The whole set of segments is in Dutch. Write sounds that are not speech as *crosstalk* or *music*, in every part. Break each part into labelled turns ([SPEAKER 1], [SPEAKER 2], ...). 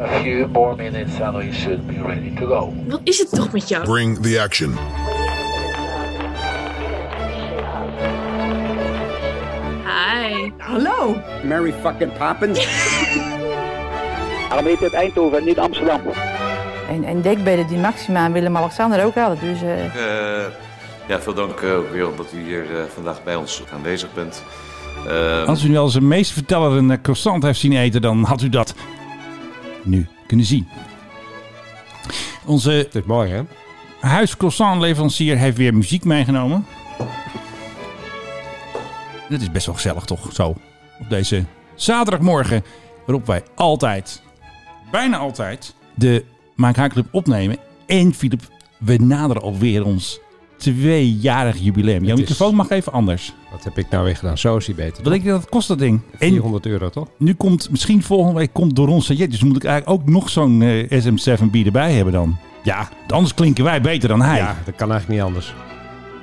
[SPEAKER 1] A few more minutes and we should be ready to go.
[SPEAKER 2] Wat is het toch met jou?
[SPEAKER 3] Bring the action.
[SPEAKER 2] Hi.
[SPEAKER 4] Hallo.
[SPEAKER 5] Mary fucking Poppins.
[SPEAKER 6] Waarom heet het Eindhoven, niet Amsterdam?
[SPEAKER 7] En, en dekbedden die Maxima en Willem-Alexander ook hadden. Dus eh,
[SPEAKER 8] Eh, ja, veel dank eh, ook weer dat u hier eh, vandaag bij ons aanwezig bent. Eh,
[SPEAKER 9] Als u nu als een meesterverteller een eh, croissant heeft zien eten, dan had u dat nu kunnen zien. Onze
[SPEAKER 10] Dit is mooi, hè?
[SPEAKER 9] huiscroissantleverancier heeft weer muziek meegenomen. Dit is best wel gezellig toch, zo. Op deze zaterdagmorgen, waarop wij altijd, bijna altijd, de Maak Haar Club opnemen. En Filip, we naderen alweer ons tweejarig jubileum. Jouw
[SPEAKER 10] is-
[SPEAKER 9] microfoon mag even anders.
[SPEAKER 10] Wat heb ik *laughs* nou weer gedaan? Zo is hij beter.
[SPEAKER 9] Wat denk je dat het kost dat ding? En
[SPEAKER 10] 400 euro, toch?
[SPEAKER 9] nu komt misschien volgende week komt door ons jet. Dus moet ik eigenlijk ook nog zo'n eh, SM7B erbij hebben dan. Ja, anders klinken wij beter dan hij.
[SPEAKER 10] Ja, dat kan eigenlijk niet anders.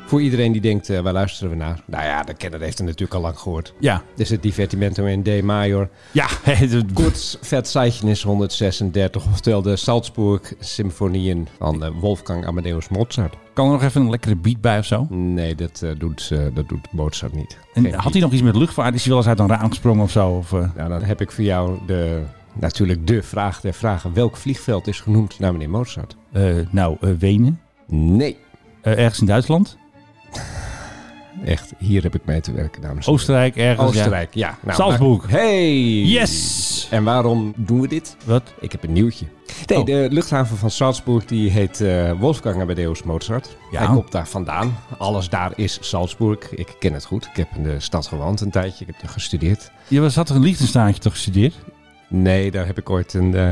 [SPEAKER 10] Voor iedereen die denkt, eh, waar luisteren we naar? Nou ja, de kenner heeft het natuurlijk al lang gehoord.
[SPEAKER 9] Ja,
[SPEAKER 10] Dit is het Divertimento in D major.
[SPEAKER 9] ja. *laughs*
[SPEAKER 10] Kort Verzeichnis 136, oftewel de Salzburg Symfonieën van eh, Wolfgang Amadeus Mozart.
[SPEAKER 9] Kan er nog even een lekkere beat bij of zo?
[SPEAKER 10] Nee, dat, eh, doet, eh, dat doet Mozart niet.
[SPEAKER 9] En
[SPEAKER 10] Geen
[SPEAKER 9] had
[SPEAKER 10] beat.
[SPEAKER 9] hij nog iets met luchtvaart? Is hij wel eens uit een raam gesprongen of zo? Of, eh,
[SPEAKER 10] Nou, dan heb ik voor jou de, natuurlijk de vraag der vragen. Welk vliegveld is genoemd naar meneer Mozart?
[SPEAKER 9] eh, nou, eh, Wenen.
[SPEAKER 10] Nee.
[SPEAKER 9] Eh, ergens in Duitsland.
[SPEAKER 10] Echt, hier heb ik mee te werken, dames en heren.
[SPEAKER 9] Oostenrijk, ergens.
[SPEAKER 10] Oostenrijk, ja. Nou,
[SPEAKER 9] Salzburg.
[SPEAKER 10] maar- Hey!
[SPEAKER 9] Ja. Yes!
[SPEAKER 10] En waarom doen we dit?
[SPEAKER 9] Wat?
[SPEAKER 10] Ik heb een nieuwtje. Nee,
[SPEAKER 9] Oh.
[SPEAKER 10] de luchthaven van Salzburg die heet eh, Wolfgang Amadeus Mozart.
[SPEAKER 9] Ja.
[SPEAKER 10] Hij komt daar vandaan. Alles daar is Salzburg. Ik ken het goed. Ik heb in de stad gewoond een tijdje. Ik heb er gestudeerd.
[SPEAKER 9] Je was had toch een Liechtensteinje toch gestudeerd?
[SPEAKER 10] Nee, daar heb ik ooit een eh,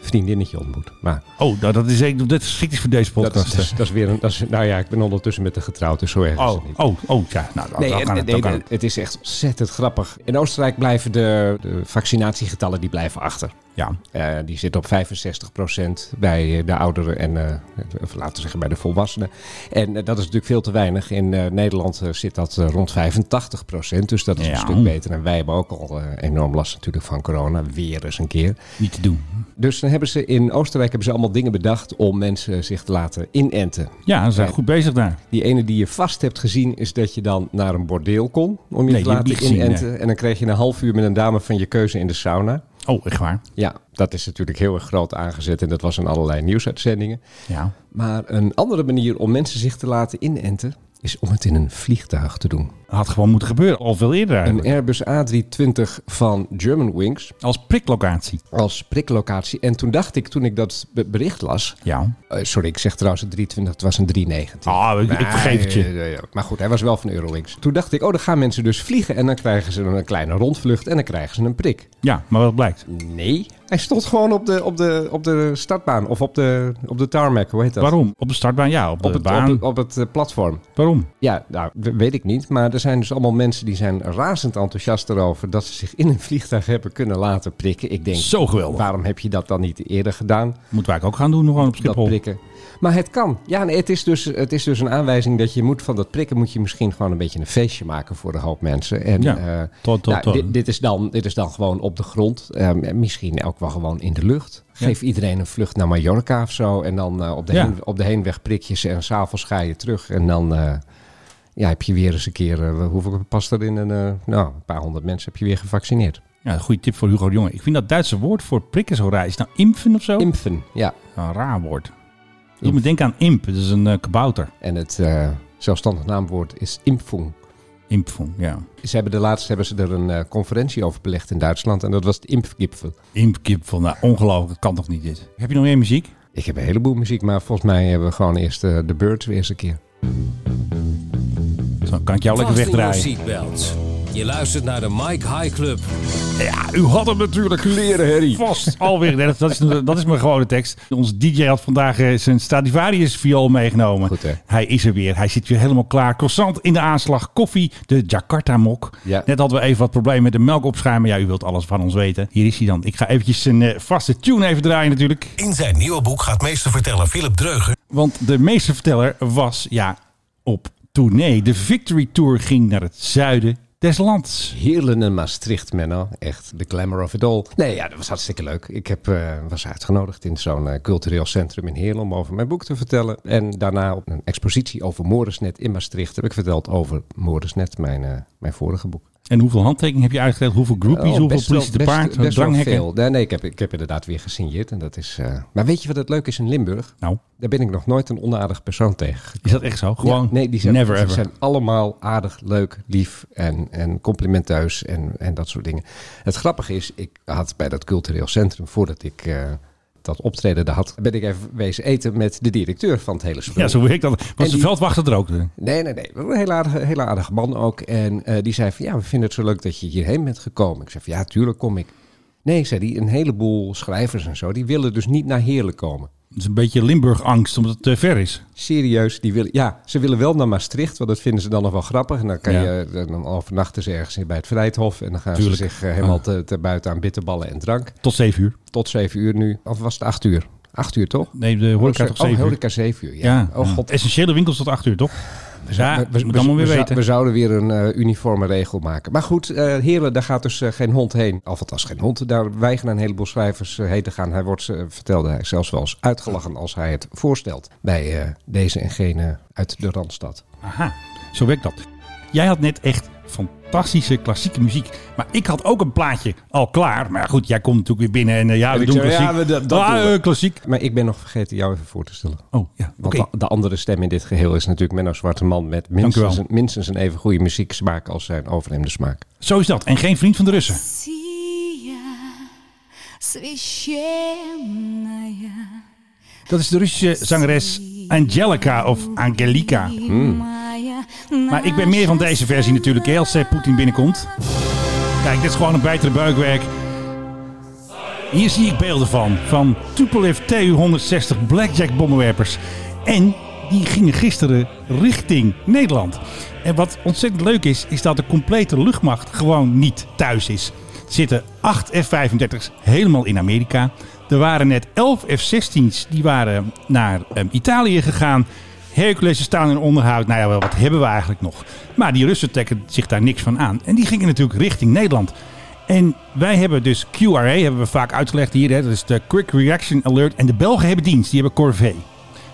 [SPEAKER 10] vriendinnetje ontmoet. Maar
[SPEAKER 9] Oh, nou, dat is, echt- dat is geschikt voor deze
[SPEAKER 10] dat is,
[SPEAKER 9] podcast.
[SPEAKER 10] dat, is, dat is weer een... Dat is, nou ja, ik ben ondertussen met de getrouwd, dus zo erg is het
[SPEAKER 9] oh,
[SPEAKER 10] niet.
[SPEAKER 9] oh, oh, ja. Nou, dan-
[SPEAKER 10] Nee,
[SPEAKER 9] dan
[SPEAKER 10] het,
[SPEAKER 9] kan het,
[SPEAKER 10] nee,
[SPEAKER 9] dan kan
[SPEAKER 10] nee,
[SPEAKER 9] het.
[SPEAKER 10] het is echt ontzettend grappig. In Oostenrijk blijven de, de vaccinatiegetallen die blijven achter.
[SPEAKER 9] Ja.
[SPEAKER 10] Eh, die zit op 65% bij eh, de ouderen en, eh, of laten we zeggen, bij de volwassenen. En eh, dat is natuurlijk veel te weinig. In eh, Nederland eh, zit dat eh, rond 85%, dus dat is
[SPEAKER 9] Ja.
[SPEAKER 10] een stuk beter. En wij hebben ook al eh, enorm last natuurlijk van corona, weer eens een keer.
[SPEAKER 9] Niet te doen.
[SPEAKER 10] Dus dan hebben ze in Oostenrijk hebben ze allemaal dingen bedacht om mensen zich te laten inenten.
[SPEAKER 9] Ja, ze zijn
[SPEAKER 10] Nee.
[SPEAKER 9] goed bezig daar.
[SPEAKER 10] Die ene die je vast hebt gezien is dat je dan naar een bordeel kon om je
[SPEAKER 9] Nee,
[SPEAKER 10] te
[SPEAKER 9] die heb ik niet
[SPEAKER 10] laten
[SPEAKER 9] gezien,
[SPEAKER 10] inenten. En dan kreeg je een half uur met een dame van je keuze in de sauna.
[SPEAKER 9] Oh, echt waar?
[SPEAKER 10] Ja, dat is natuurlijk heel erg groot aangezet en dat was in allerlei nieuwsuitzendingen.
[SPEAKER 9] Ja.
[SPEAKER 10] Maar een andere manier om mensen zich te laten inenten is om het in een vliegtuig te doen.
[SPEAKER 9] Had gewoon moeten gebeuren, al veel eerder eigenlijk.
[SPEAKER 10] Een Airbus A320 van Germanwings
[SPEAKER 9] Als priklocatie.
[SPEAKER 10] als priklocatie. En toen dacht ik, toen ik dat be- bericht las...
[SPEAKER 9] Ja.
[SPEAKER 10] eh, sorry, ik zeg trouwens een 320, het was een 319.
[SPEAKER 9] Ah, ik, ik vergeef het je.
[SPEAKER 10] Nee, nee, nee. eh, Maar goed, hij was wel van Eurowings. Toen dacht ik, oh, dan gaan mensen dus vliegen en dan krijgen ze een kleine rondvlucht en dan krijgen ze een prik.
[SPEAKER 9] Ja, maar wat blijkt?
[SPEAKER 10] Nee. Hij stond gewoon op de, op de, op de startbaan of op de, op de tarmac, hoe heet dat?
[SPEAKER 9] Waarom? Op de startbaan? Ja, op de
[SPEAKER 10] Op het, op,
[SPEAKER 9] baan.
[SPEAKER 10] het- op het eh, platform.
[SPEAKER 9] Waarom?
[SPEAKER 10] Ja, nou, w- weet ik niet. Maar er zijn dus allemaal mensen die zijn razend enthousiast erover dat ze zich in een vliegtuig hebben kunnen laten prikken. Ik denk,
[SPEAKER 9] Zo geweldig.
[SPEAKER 10] waarom heb je dat dan niet eerder gedaan?
[SPEAKER 9] Moeten wij ook gaan doen, gewoon op
[SPEAKER 10] dat
[SPEAKER 9] Schiphol.
[SPEAKER 10] prikken. Maar het kan. Ja, nee, het, is dus, het is dus een aanwijzing dat je moet van dat prikken moet je misschien gewoon een beetje een feestje maken voor een hoop mensen. En,
[SPEAKER 9] Ja.
[SPEAKER 10] eh,
[SPEAKER 9] Tot, tot,
[SPEAKER 10] nou,
[SPEAKER 9] tot.
[SPEAKER 10] Dit, dit is dan, dit is dan gewoon op de grond. Ehm, en misschien ook wel gewoon in de lucht. Geef iedereen een vlucht naar Mallorca of zo. En dan eh, op, de
[SPEAKER 9] Ja.
[SPEAKER 10] heen, op de heenweg prikjes en s'avonds ga je terug. En dan eh, ja, heb je weer eens een keer, eh, hoeveel past er in? Een, eh, nou, een paar honderd mensen heb je weer gevaccineerd.
[SPEAKER 9] Ja, een goede tip voor Hugo de Jonge. Ik vind dat Duitse woord voor prikken zo raar. Is het nou impfen of zo?
[SPEAKER 10] Impfen, ja.
[SPEAKER 9] Een raar woord. Doe me denken aan imp. Dat is een eh, kabouter.
[SPEAKER 10] En het eh, zelfstandig naamwoord is impfung.
[SPEAKER 9] Impfung, ja.
[SPEAKER 10] Ze hebben de laatste hebben ze er een eh, conferentie over belegd in Duitsland. En dat was het Impfgipfel.
[SPEAKER 9] Impkip van, nou, ongelooflijk. Dat kan toch niet dit? Heb je nog meer muziek?
[SPEAKER 10] Ik heb een heleboel muziek, maar volgens mij hebben we gewoon eerst eh, de Birds weer eens een keer.
[SPEAKER 9] Dan kan ik jou lekker
[SPEAKER 11] Vast in
[SPEAKER 9] wegdraaien.
[SPEAKER 11] your seatbelt. Je luistert naar de Mike High Club.
[SPEAKER 9] Ja, u had hem natuurlijk leren, Harry. Vast, alweer. Nee, dat, dat, is, dat is mijn gewone tekst. Onze DJ had vandaag eh, zijn Stradivarius viool meegenomen.
[SPEAKER 10] Goed, hè?
[SPEAKER 9] Hij is er weer. Hij zit weer helemaal klaar. Croissant in de aanslag. Koffie, de Jakarta mok.
[SPEAKER 10] Ja.
[SPEAKER 9] Net hadden we even wat problemen met de melk opschuimen. Ja, u wilt alles van ons weten. Hier is hij dan. Ik ga eventjes zijn eh, vaste tune even draaien natuurlijk.
[SPEAKER 11] In zijn nieuwe boek gaat meesterverteller Philip Dreuger
[SPEAKER 9] Want de meesterverteller was, ja, op tournee. De Victory Tour ging naar het zuiden des lands.
[SPEAKER 10] Heerlen en Maastricht, Menno. Echt, de glamour of it all. Nee, ja, dat was hartstikke leuk. Ik heb, eh, was uitgenodigd in zo'n eh, cultureel centrum in Heerlen om over mijn boek te vertellen. En daarna op een expositie over Morisnet in Maastricht heb ik verteld over Morisnet, mijn, eh, mijn vorige boek.
[SPEAKER 9] En hoeveel handtekeningen heb je uitgelegd? Hoeveel
[SPEAKER 10] Oh,
[SPEAKER 9] groupies? hoeveel
[SPEAKER 10] best wel-
[SPEAKER 9] politie te
[SPEAKER 10] best-
[SPEAKER 9] paard?
[SPEAKER 10] best wel
[SPEAKER 9] dranghekken?
[SPEAKER 10] veel. Nee, nee, ik, heb, ik heb inderdaad weer gesigneerd. En dat is, eh, Maar weet je wat het leuk is in Limburg?
[SPEAKER 9] Nou,
[SPEAKER 10] Daar ben ik nog nooit een onaardig persoon tegen.
[SPEAKER 9] is dat echt zo? Gewoon
[SPEAKER 10] Ja, nee, die zijn,
[SPEAKER 9] never
[SPEAKER 10] die
[SPEAKER 9] ever.
[SPEAKER 10] zijn allemaal aardig, leuk, lief en, en complimenteus en, en dat soort dingen. Het grappige is, ik had bij dat cultureel centrum, voordat ik eh, dat optreden daar had, ben ik even wezen eten met de directeur van het hele spul.
[SPEAKER 9] Ja, zo werkt dat.
[SPEAKER 10] En
[SPEAKER 9] Was de
[SPEAKER 10] die-
[SPEAKER 9] veldwachter er ook? eh?
[SPEAKER 10] Nee, nee, nee. Wel Een heel aardige, heel aardige man ook. En eh, die zei van, ja, we vinden het zo leuk dat je hierheen bent gekomen. Ik zei van, ja, tuurlijk kom ik. Nee, zei die, een heleboel schrijvers en zo, die willen dus niet naar Heerlen komen.
[SPEAKER 9] Het is een beetje Limburg-angst, omdat het te ver is.
[SPEAKER 10] Serieus, die willen, ja, ze willen wel naar Maastricht, want dat vinden ze dan nog wel grappig. En dan kan
[SPEAKER 9] Ja.
[SPEAKER 10] je, eh, dan overnachten ze ergens bij het Vrijthof en dan gaan
[SPEAKER 9] Tuurlijk.
[SPEAKER 10] ze zich eh, helemaal
[SPEAKER 9] Ah.
[SPEAKER 10] te, te buiten aan bitterballen en drank.
[SPEAKER 9] Tot zeven uur.
[SPEAKER 10] Tot zeven uur nu, of was het acht uur? Acht uur toch?
[SPEAKER 9] Nee, de horeca toch
[SPEAKER 10] oh,
[SPEAKER 9] zeven uur.
[SPEAKER 10] horeca zeven uur, ja.
[SPEAKER 9] Ja,
[SPEAKER 10] Oh
[SPEAKER 9] ja.
[SPEAKER 10] god.
[SPEAKER 9] essentiële winkels tot acht uur, toch? Ja,
[SPEAKER 10] We-
[SPEAKER 9] moet allemaal weer
[SPEAKER 10] we, zou-
[SPEAKER 9] weten.
[SPEAKER 10] we zouden weer een eh, uniforme regel maken. Maar goed, eh heren, daar gaat dus eh, geen hond heen. Of althans geen hond. Daar weigeren een heleboel schrijvers eh, heen te gaan. Hij wordt, eh, vertelde hij, zelfs wel eens uitgelachen als hij het voorstelt. Bij eh, deze en gene uit de Randstad.
[SPEAKER 9] Aha, zo werkt dat. Jij had net echt fantastische klassieke muziek. Maar ik had ook een plaatje al klaar. Maar goed, jij komt natuurlijk weer binnen en eh, ja,
[SPEAKER 10] En
[SPEAKER 9] we
[SPEAKER 10] ik
[SPEAKER 9] doen
[SPEAKER 10] zei,
[SPEAKER 9] klassiek.
[SPEAKER 10] ja, we- dat- dat
[SPEAKER 9] Ah,
[SPEAKER 10] doen we.
[SPEAKER 9] eh, klassiek.
[SPEAKER 10] Maar ik ben nog vergeten jou even voor te stellen.
[SPEAKER 9] Oh, ja,
[SPEAKER 10] Want
[SPEAKER 9] oké.
[SPEAKER 10] de- de andere stem in dit geheel is natuurlijk Menno Zwarte Man... met minstens,
[SPEAKER 9] wel.
[SPEAKER 10] een- minstens een even goede muzieksmaak als zijn overhemde smaak.
[SPEAKER 9] Zo is dat. En geen vriend van de Russen.
[SPEAKER 3] Россия священная
[SPEAKER 9] Dat is de Russische zangeres Angelica of Angelica.
[SPEAKER 10] Hmm.
[SPEAKER 3] моя.
[SPEAKER 9] Maar ik ben meer van deze versie natuurlijk, hè, als eh, Poetin binnenkomt. Kijk, dit is gewoon een bijtere buikwerk. Hier zie ik beelden van. Van Tupolev TU-160 Blackjack bommenwerpers. En die gingen gisteren richting Nederland. En wat ontzettend leuk is, is dat de complete luchtmacht gewoon niet thuis is. Er zitten 8 F-35's helemaal in Amerika. Er waren net 11 F-16's die waren naar ehm, Italië gegaan. Hercules staan in onderhoud. Nou ja, wel, wat hebben we eigenlijk nog? Maar die Russen trekken zich daar niks van aan. En die gingen natuurlijk richting Nederland. En wij hebben dus QRA, hebben we vaak uitgelegd hier. Hè? Dat is de Quick Reaction Alert. En de Belgen hebben dienst, die hebben Corvée.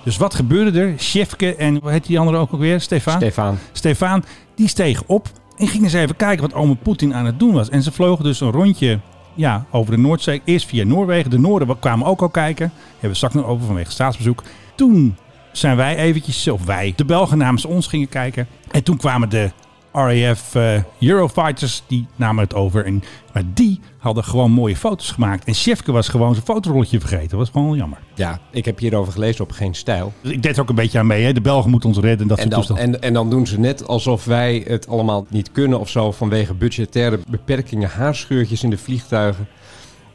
[SPEAKER 9] Dus wat gebeurde er? Sjefke en, hoe heet die andere ook alweer? Ah. Stefan?
[SPEAKER 10] Stefan,
[SPEAKER 9] Stefan, die steeg op en ging eens even kijken wat ome Poetin aan het doen was. En ze vlogen dus een rondje ja, over de Noordzee. Eerst via Noorwegen. De Noorden kwamen ook al kijken. Daar hebben we straks nog over vanwege staatsbezoek. Toen zijn wij eventjes, of wij, de Belgen namens ons gingen kijken. En toen kwamen de RAF eh, Eurofighters, die namen het over. En, maar die hadden gewoon mooie foto's gemaakt. En Sjefke was gewoon zijn fotorolletje vergeten. Dat was gewoon jammer.
[SPEAKER 10] ja, ik heb hierover gelezen op Geen Stijl.
[SPEAKER 9] Dus ik deed er ook een beetje aan mee. Hè. De Belgen moeten ons redden. Dat
[SPEAKER 10] En
[SPEAKER 9] soort
[SPEAKER 10] dan,
[SPEAKER 9] toestanden.
[SPEAKER 10] en, en dan doen ze net alsof wij het allemaal niet kunnen of zo vanwege budgettaire beperkingen, haarscheurtjes in de vliegtuigen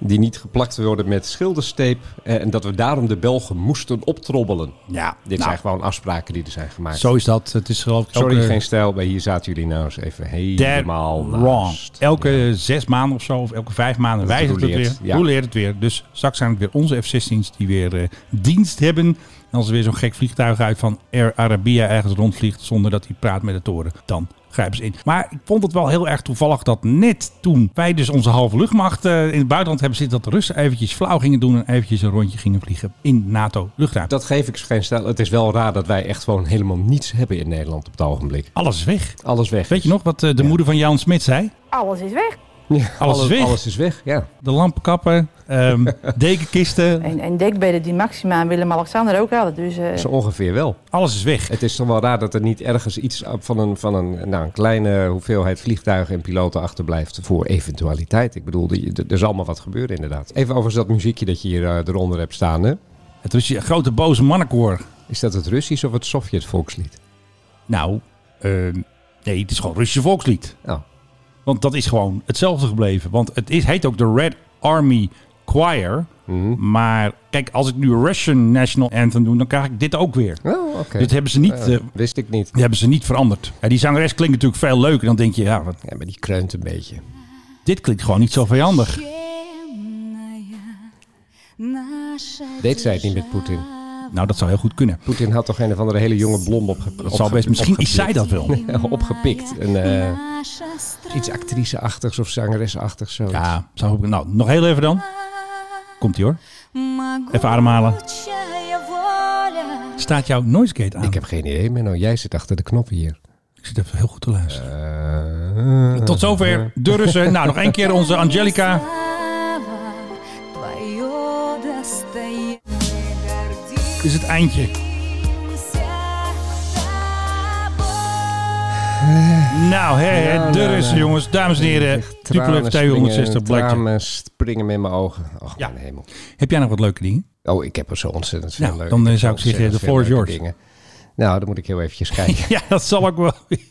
[SPEAKER 10] die niet geplakt worden met schilderstape eh, en dat we daarom de Belgen moesten optrobbelen.
[SPEAKER 9] ja,
[SPEAKER 10] Dit
[SPEAKER 9] nou,
[SPEAKER 10] zijn gewoon afspraken die er zijn gemaakt.
[SPEAKER 9] zo is dat. Het is geloof ik
[SPEAKER 10] Sorry,
[SPEAKER 9] elke-
[SPEAKER 10] geen stijl, maar hier zaten jullie nou eens even
[SPEAKER 9] Dead
[SPEAKER 10] helemaal
[SPEAKER 9] wrong.
[SPEAKER 10] naast.
[SPEAKER 9] Elke zes maanden of zo, of elke vijf maanden
[SPEAKER 10] Dat het
[SPEAKER 9] wijzigt het weer.
[SPEAKER 10] roleert, ja.
[SPEAKER 9] Hoe leert het weer? Dus straks zijn het weer onze F-16's die weer eh, dienst hebben. En als er weer zo'n gek vliegtuig uit van Air Arabia ergens rondvliegt zonder dat hij praat met de toren, dan grijpen ze in. Maar ik vond het wel heel erg toevallig dat net toen wij dus onze halve luchtmacht eh, in het buitenland hebben zitten, dat de Russen eventjes flauw gingen doen en eventjes een rondje gingen vliegen in NATO-luchtruim.
[SPEAKER 10] Dat geef ik geen stijl. Het is wel raar dat wij echt gewoon helemaal niets hebben in Nederland op het ogenblik.
[SPEAKER 9] Alles is weg.
[SPEAKER 10] Alles weg.
[SPEAKER 9] Weet
[SPEAKER 10] is.
[SPEAKER 9] je nog wat eh, de
[SPEAKER 10] Ja.
[SPEAKER 9] moeder van Jan Smit zei?
[SPEAKER 7] Alles is weg.
[SPEAKER 10] Ja,
[SPEAKER 9] Alles is weg.
[SPEAKER 10] Alles is weg, ja.
[SPEAKER 9] De lampenkappen, ehm,
[SPEAKER 10] *laughs*
[SPEAKER 9] dekenkisten,
[SPEAKER 7] En, en dekbedden die Maxima en Willem-Alexander ook hadden. Dus eh,
[SPEAKER 10] Zo ongeveer wel.
[SPEAKER 9] Alles is weg.
[SPEAKER 10] Het is toch wel raar dat er niet ergens iets van een, van een, nou, een kleine hoeveelheid vliegtuigen en piloten achterblijft voor eventualiteit. Ik bedoel, die- d- er zal maar wat gebeuren inderdaad. Even overigens dat muziekje dat je hier eh, eronder hebt staan. Hè?
[SPEAKER 9] Het was je grote boze mannenkoor.
[SPEAKER 10] Is dat het Russisch of het Sovjet-volkslied?
[SPEAKER 9] Nou, ehm, nee, het is gewoon Russische volkslied.
[SPEAKER 10] Nou,
[SPEAKER 9] Want dat is gewoon hetzelfde gebleven. Want het is, heet ook de Red Army Choir.
[SPEAKER 10] Mhm.
[SPEAKER 9] Maar kijk, als ik nu Russian National Anthem doe, dan krijg ik dit ook weer.
[SPEAKER 10] oh, oké.
[SPEAKER 9] Dit hebben ze niet,
[SPEAKER 10] Ja,
[SPEAKER 9] eh,
[SPEAKER 10] wist ik niet.
[SPEAKER 9] die hebben ze niet veranderd. Ja, die zangeres klinkt natuurlijk veel leuker. Dan denk je, ja, wat,
[SPEAKER 10] Ja, maar die kreunt een beetje.
[SPEAKER 9] dit klinkt gewoon niet zo vijandig.
[SPEAKER 3] Священная наша
[SPEAKER 10] Deed zij het niet met Poetin?
[SPEAKER 3] держава.
[SPEAKER 9] Nou, dat zou heel goed kunnen.
[SPEAKER 10] Poetin had toch een of andere hele jonge blom op.
[SPEAKER 9] Dat zal best, misschien is zij dat wel.
[SPEAKER 10] opgepikt. *laughs* Een, eh,
[SPEAKER 3] наша страна.
[SPEAKER 10] iets actriceachtigs of zangeresachtigs. Zo.
[SPEAKER 9] Ja, zou ook, nou, nog heel even dan. Komt ie hoor. Even ademhalen.
[SPEAKER 3] Могучая воля.
[SPEAKER 9] Staat jouw noise gate aan?
[SPEAKER 10] Ik heb geen idee, Menno. Jij zit achter de knoppen hier.
[SPEAKER 9] Ik zit even heel goed te luisteren.
[SPEAKER 10] Eh,
[SPEAKER 9] Tot zover de Russen. Nou, nog één keer onze
[SPEAKER 3] *laughs*
[SPEAKER 9] Angelica.
[SPEAKER 3] Слава твое достояние.
[SPEAKER 9] Dit is het eindje.
[SPEAKER 3] Гордимся тобой.
[SPEAKER 9] Nou, hè, hè,
[SPEAKER 10] Nou,
[SPEAKER 9] de
[SPEAKER 10] nou,
[SPEAKER 9] Russen,
[SPEAKER 10] nou.
[SPEAKER 9] jongens. Dames en heren.
[SPEAKER 10] echt
[SPEAKER 9] Duplef
[SPEAKER 10] tranen springen-
[SPEAKER 9] T160 Blackjack.
[SPEAKER 10] Tranen springen met mijn ogen. Och,
[SPEAKER 9] Ja.
[SPEAKER 10] mijn hemel.
[SPEAKER 9] Heb jij nog wat leuke dingen? *laughs*
[SPEAKER 10] Oh, ik heb er zo ontzettend veel
[SPEAKER 9] Nou,
[SPEAKER 10] leuke
[SPEAKER 9] dan,
[SPEAKER 10] heb
[SPEAKER 9] eh,
[SPEAKER 10] zo
[SPEAKER 9] zou ik zeggen,
[SPEAKER 10] ontzettend
[SPEAKER 9] the floor is
[SPEAKER 10] veel leuke
[SPEAKER 9] yours.
[SPEAKER 10] dingen. Nou, dan moet ik heel eventjes kijken.
[SPEAKER 9] Ja, dat zal ik wel.
[SPEAKER 10] *laughs*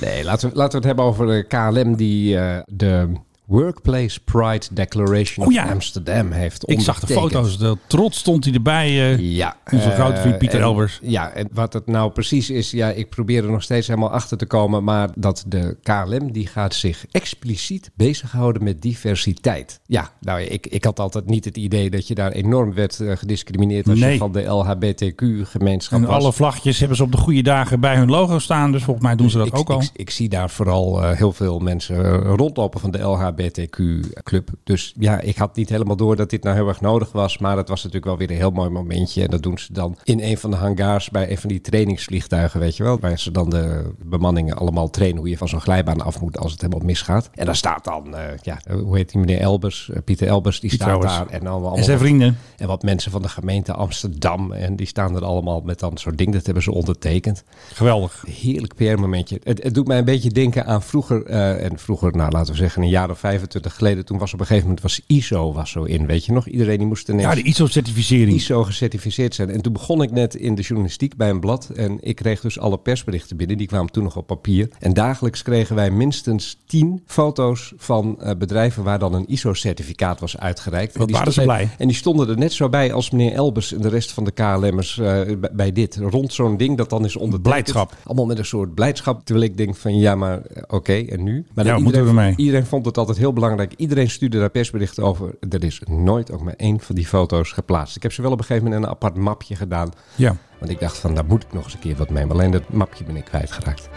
[SPEAKER 10] Nee, laten we, laten we het hebben over de KLM die eh, de Workplace Pride Declaration
[SPEAKER 9] Oh
[SPEAKER 10] of
[SPEAKER 9] ja.
[SPEAKER 10] Amsterdam heeft
[SPEAKER 9] Ik zag de
[SPEAKER 10] ondertekend.
[SPEAKER 9] foto's. De trots stond hij erbij. eh.
[SPEAKER 10] Ja.
[SPEAKER 9] Onze grote
[SPEAKER 10] eh,
[SPEAKER 9] vriend Pieter
[SPEAKER 10] en-
[SPEAKER 9] Elbers.
[SPEAKER 10] Ja, en wat het nou precies is, ja, ik probeer er nog steeds helemaal achter te komen. Maar dat de KLM, die gaat zich expliciet bezighouden met diversiteit. Ja, nou, ik, ik had altijd niet het idee dat je daar enorm werd eh, gediscrimineerd als
[SPEAKER 9] Nee.
[SPEAKER 10] je van de LHBTQ-gemeenschap
[SPEAKER 9] en
[SPEAKER 10] was.
[SPEAKER 9] alle vlagjes hebben ze op de goede dagen bij hun logo staan. Dus volgens mij doen ze dat
[SPEAKER 10] ik,
[SPEAKER 9] ook al.
[SPEAKER 10] Ik, ik zie daar vooral eh, heel veel mensen eh, rondlopen van de LHBTQ-club. Dus ja, ik had niet helemaal door dat dit nou heel erg nodig was. Maar het was natuurlijk wel weer een heel mooi momentje. En dat doen ze dan in een van de hangars bij een van die trainingsvliegtuigen, weet je wel. Waar ze dan de bemanningen allemaal trainen hoe je van zo'n glijbaan af moet als het helemaal misgaat. En daar staat dan, eh, ja, eh, hoe heet die meneer Elbers? Eh, Pieter Elbers, die
[SPEAKER 9] Pieter
[SPEAKER 10] staat
[SPEAKER 9] Elbers.
[SPEAKER 10] daar. En, allemaal,
[SPEAKER 9] En zijn vrienden.
[SPEAKER 10] en wat mensen van de gemeente Amsterdam. En die staan er allemaal met dan zo'n ding. Dat hebben ze ondertekend.
[SPEAKER 9] Geweldig.
[SPEAKER 10] Heerlijk PR-momentje. Het, het doet mij een beetje denken aan vroeger. eh, en vroeger, nou laten we zeggen een jaar of 25 geleden. Toen was op een gegeven moment was ISO was zo in. Weet je nog? Iedereen die moest ineens
[SPEAKER 9] Ja, de ISO-certificering.
[SPEAKER 10] ISO gecertificeerd zijn. En toen begon ik net in de journalistiek bij een blad. En ik kreeg dus alle persberichten binnen. Die kwamen toen nog op papier. En dagelijks kregen wij minstens 10 foto's van eh, bedrijven waar dan een ISO-certificaat was uitgereikt.
[SPEAKER 9] Wat
[SPEAKER 10] En die
[SPEAKER 9] waren ze
[SPEAKER 10] stonden-
[SPEAKER 9] blij.
[SPEAKER 10] En die stonden er net zo bij als meneer Elbers en de rest van de KLM'ers eh, bij- bij dit. Rond zo'n ding dat dan is onder
[SPEAKER 9] Blijdschap.
[SPEAKER 10] Allemaal met een soort blijdschap. Terwijl ik denk van ja, maar eh, oké, en nu? Maar
[SPEAKER 9] Ja,
[SPEAKER 10] dan
[SPEAKER 9] wat moeten we ermee?
[SPEAKER 10] Nou, Iedereen vond het altijd heel belangrijk. Iedereen stuurde daar persberichten over. Er is nooit ook maar één van die foto's geplaatst. Ik heb ze wel op een gegeven moment in een apart mapje gedaan.
[SPEAKER 9] Ja.
[SPEAKER 10] Want ik dacht van, daar moet ik nog eens een keer wat mee. Maar alleen dat mapje ben ik kwijtgeraakt.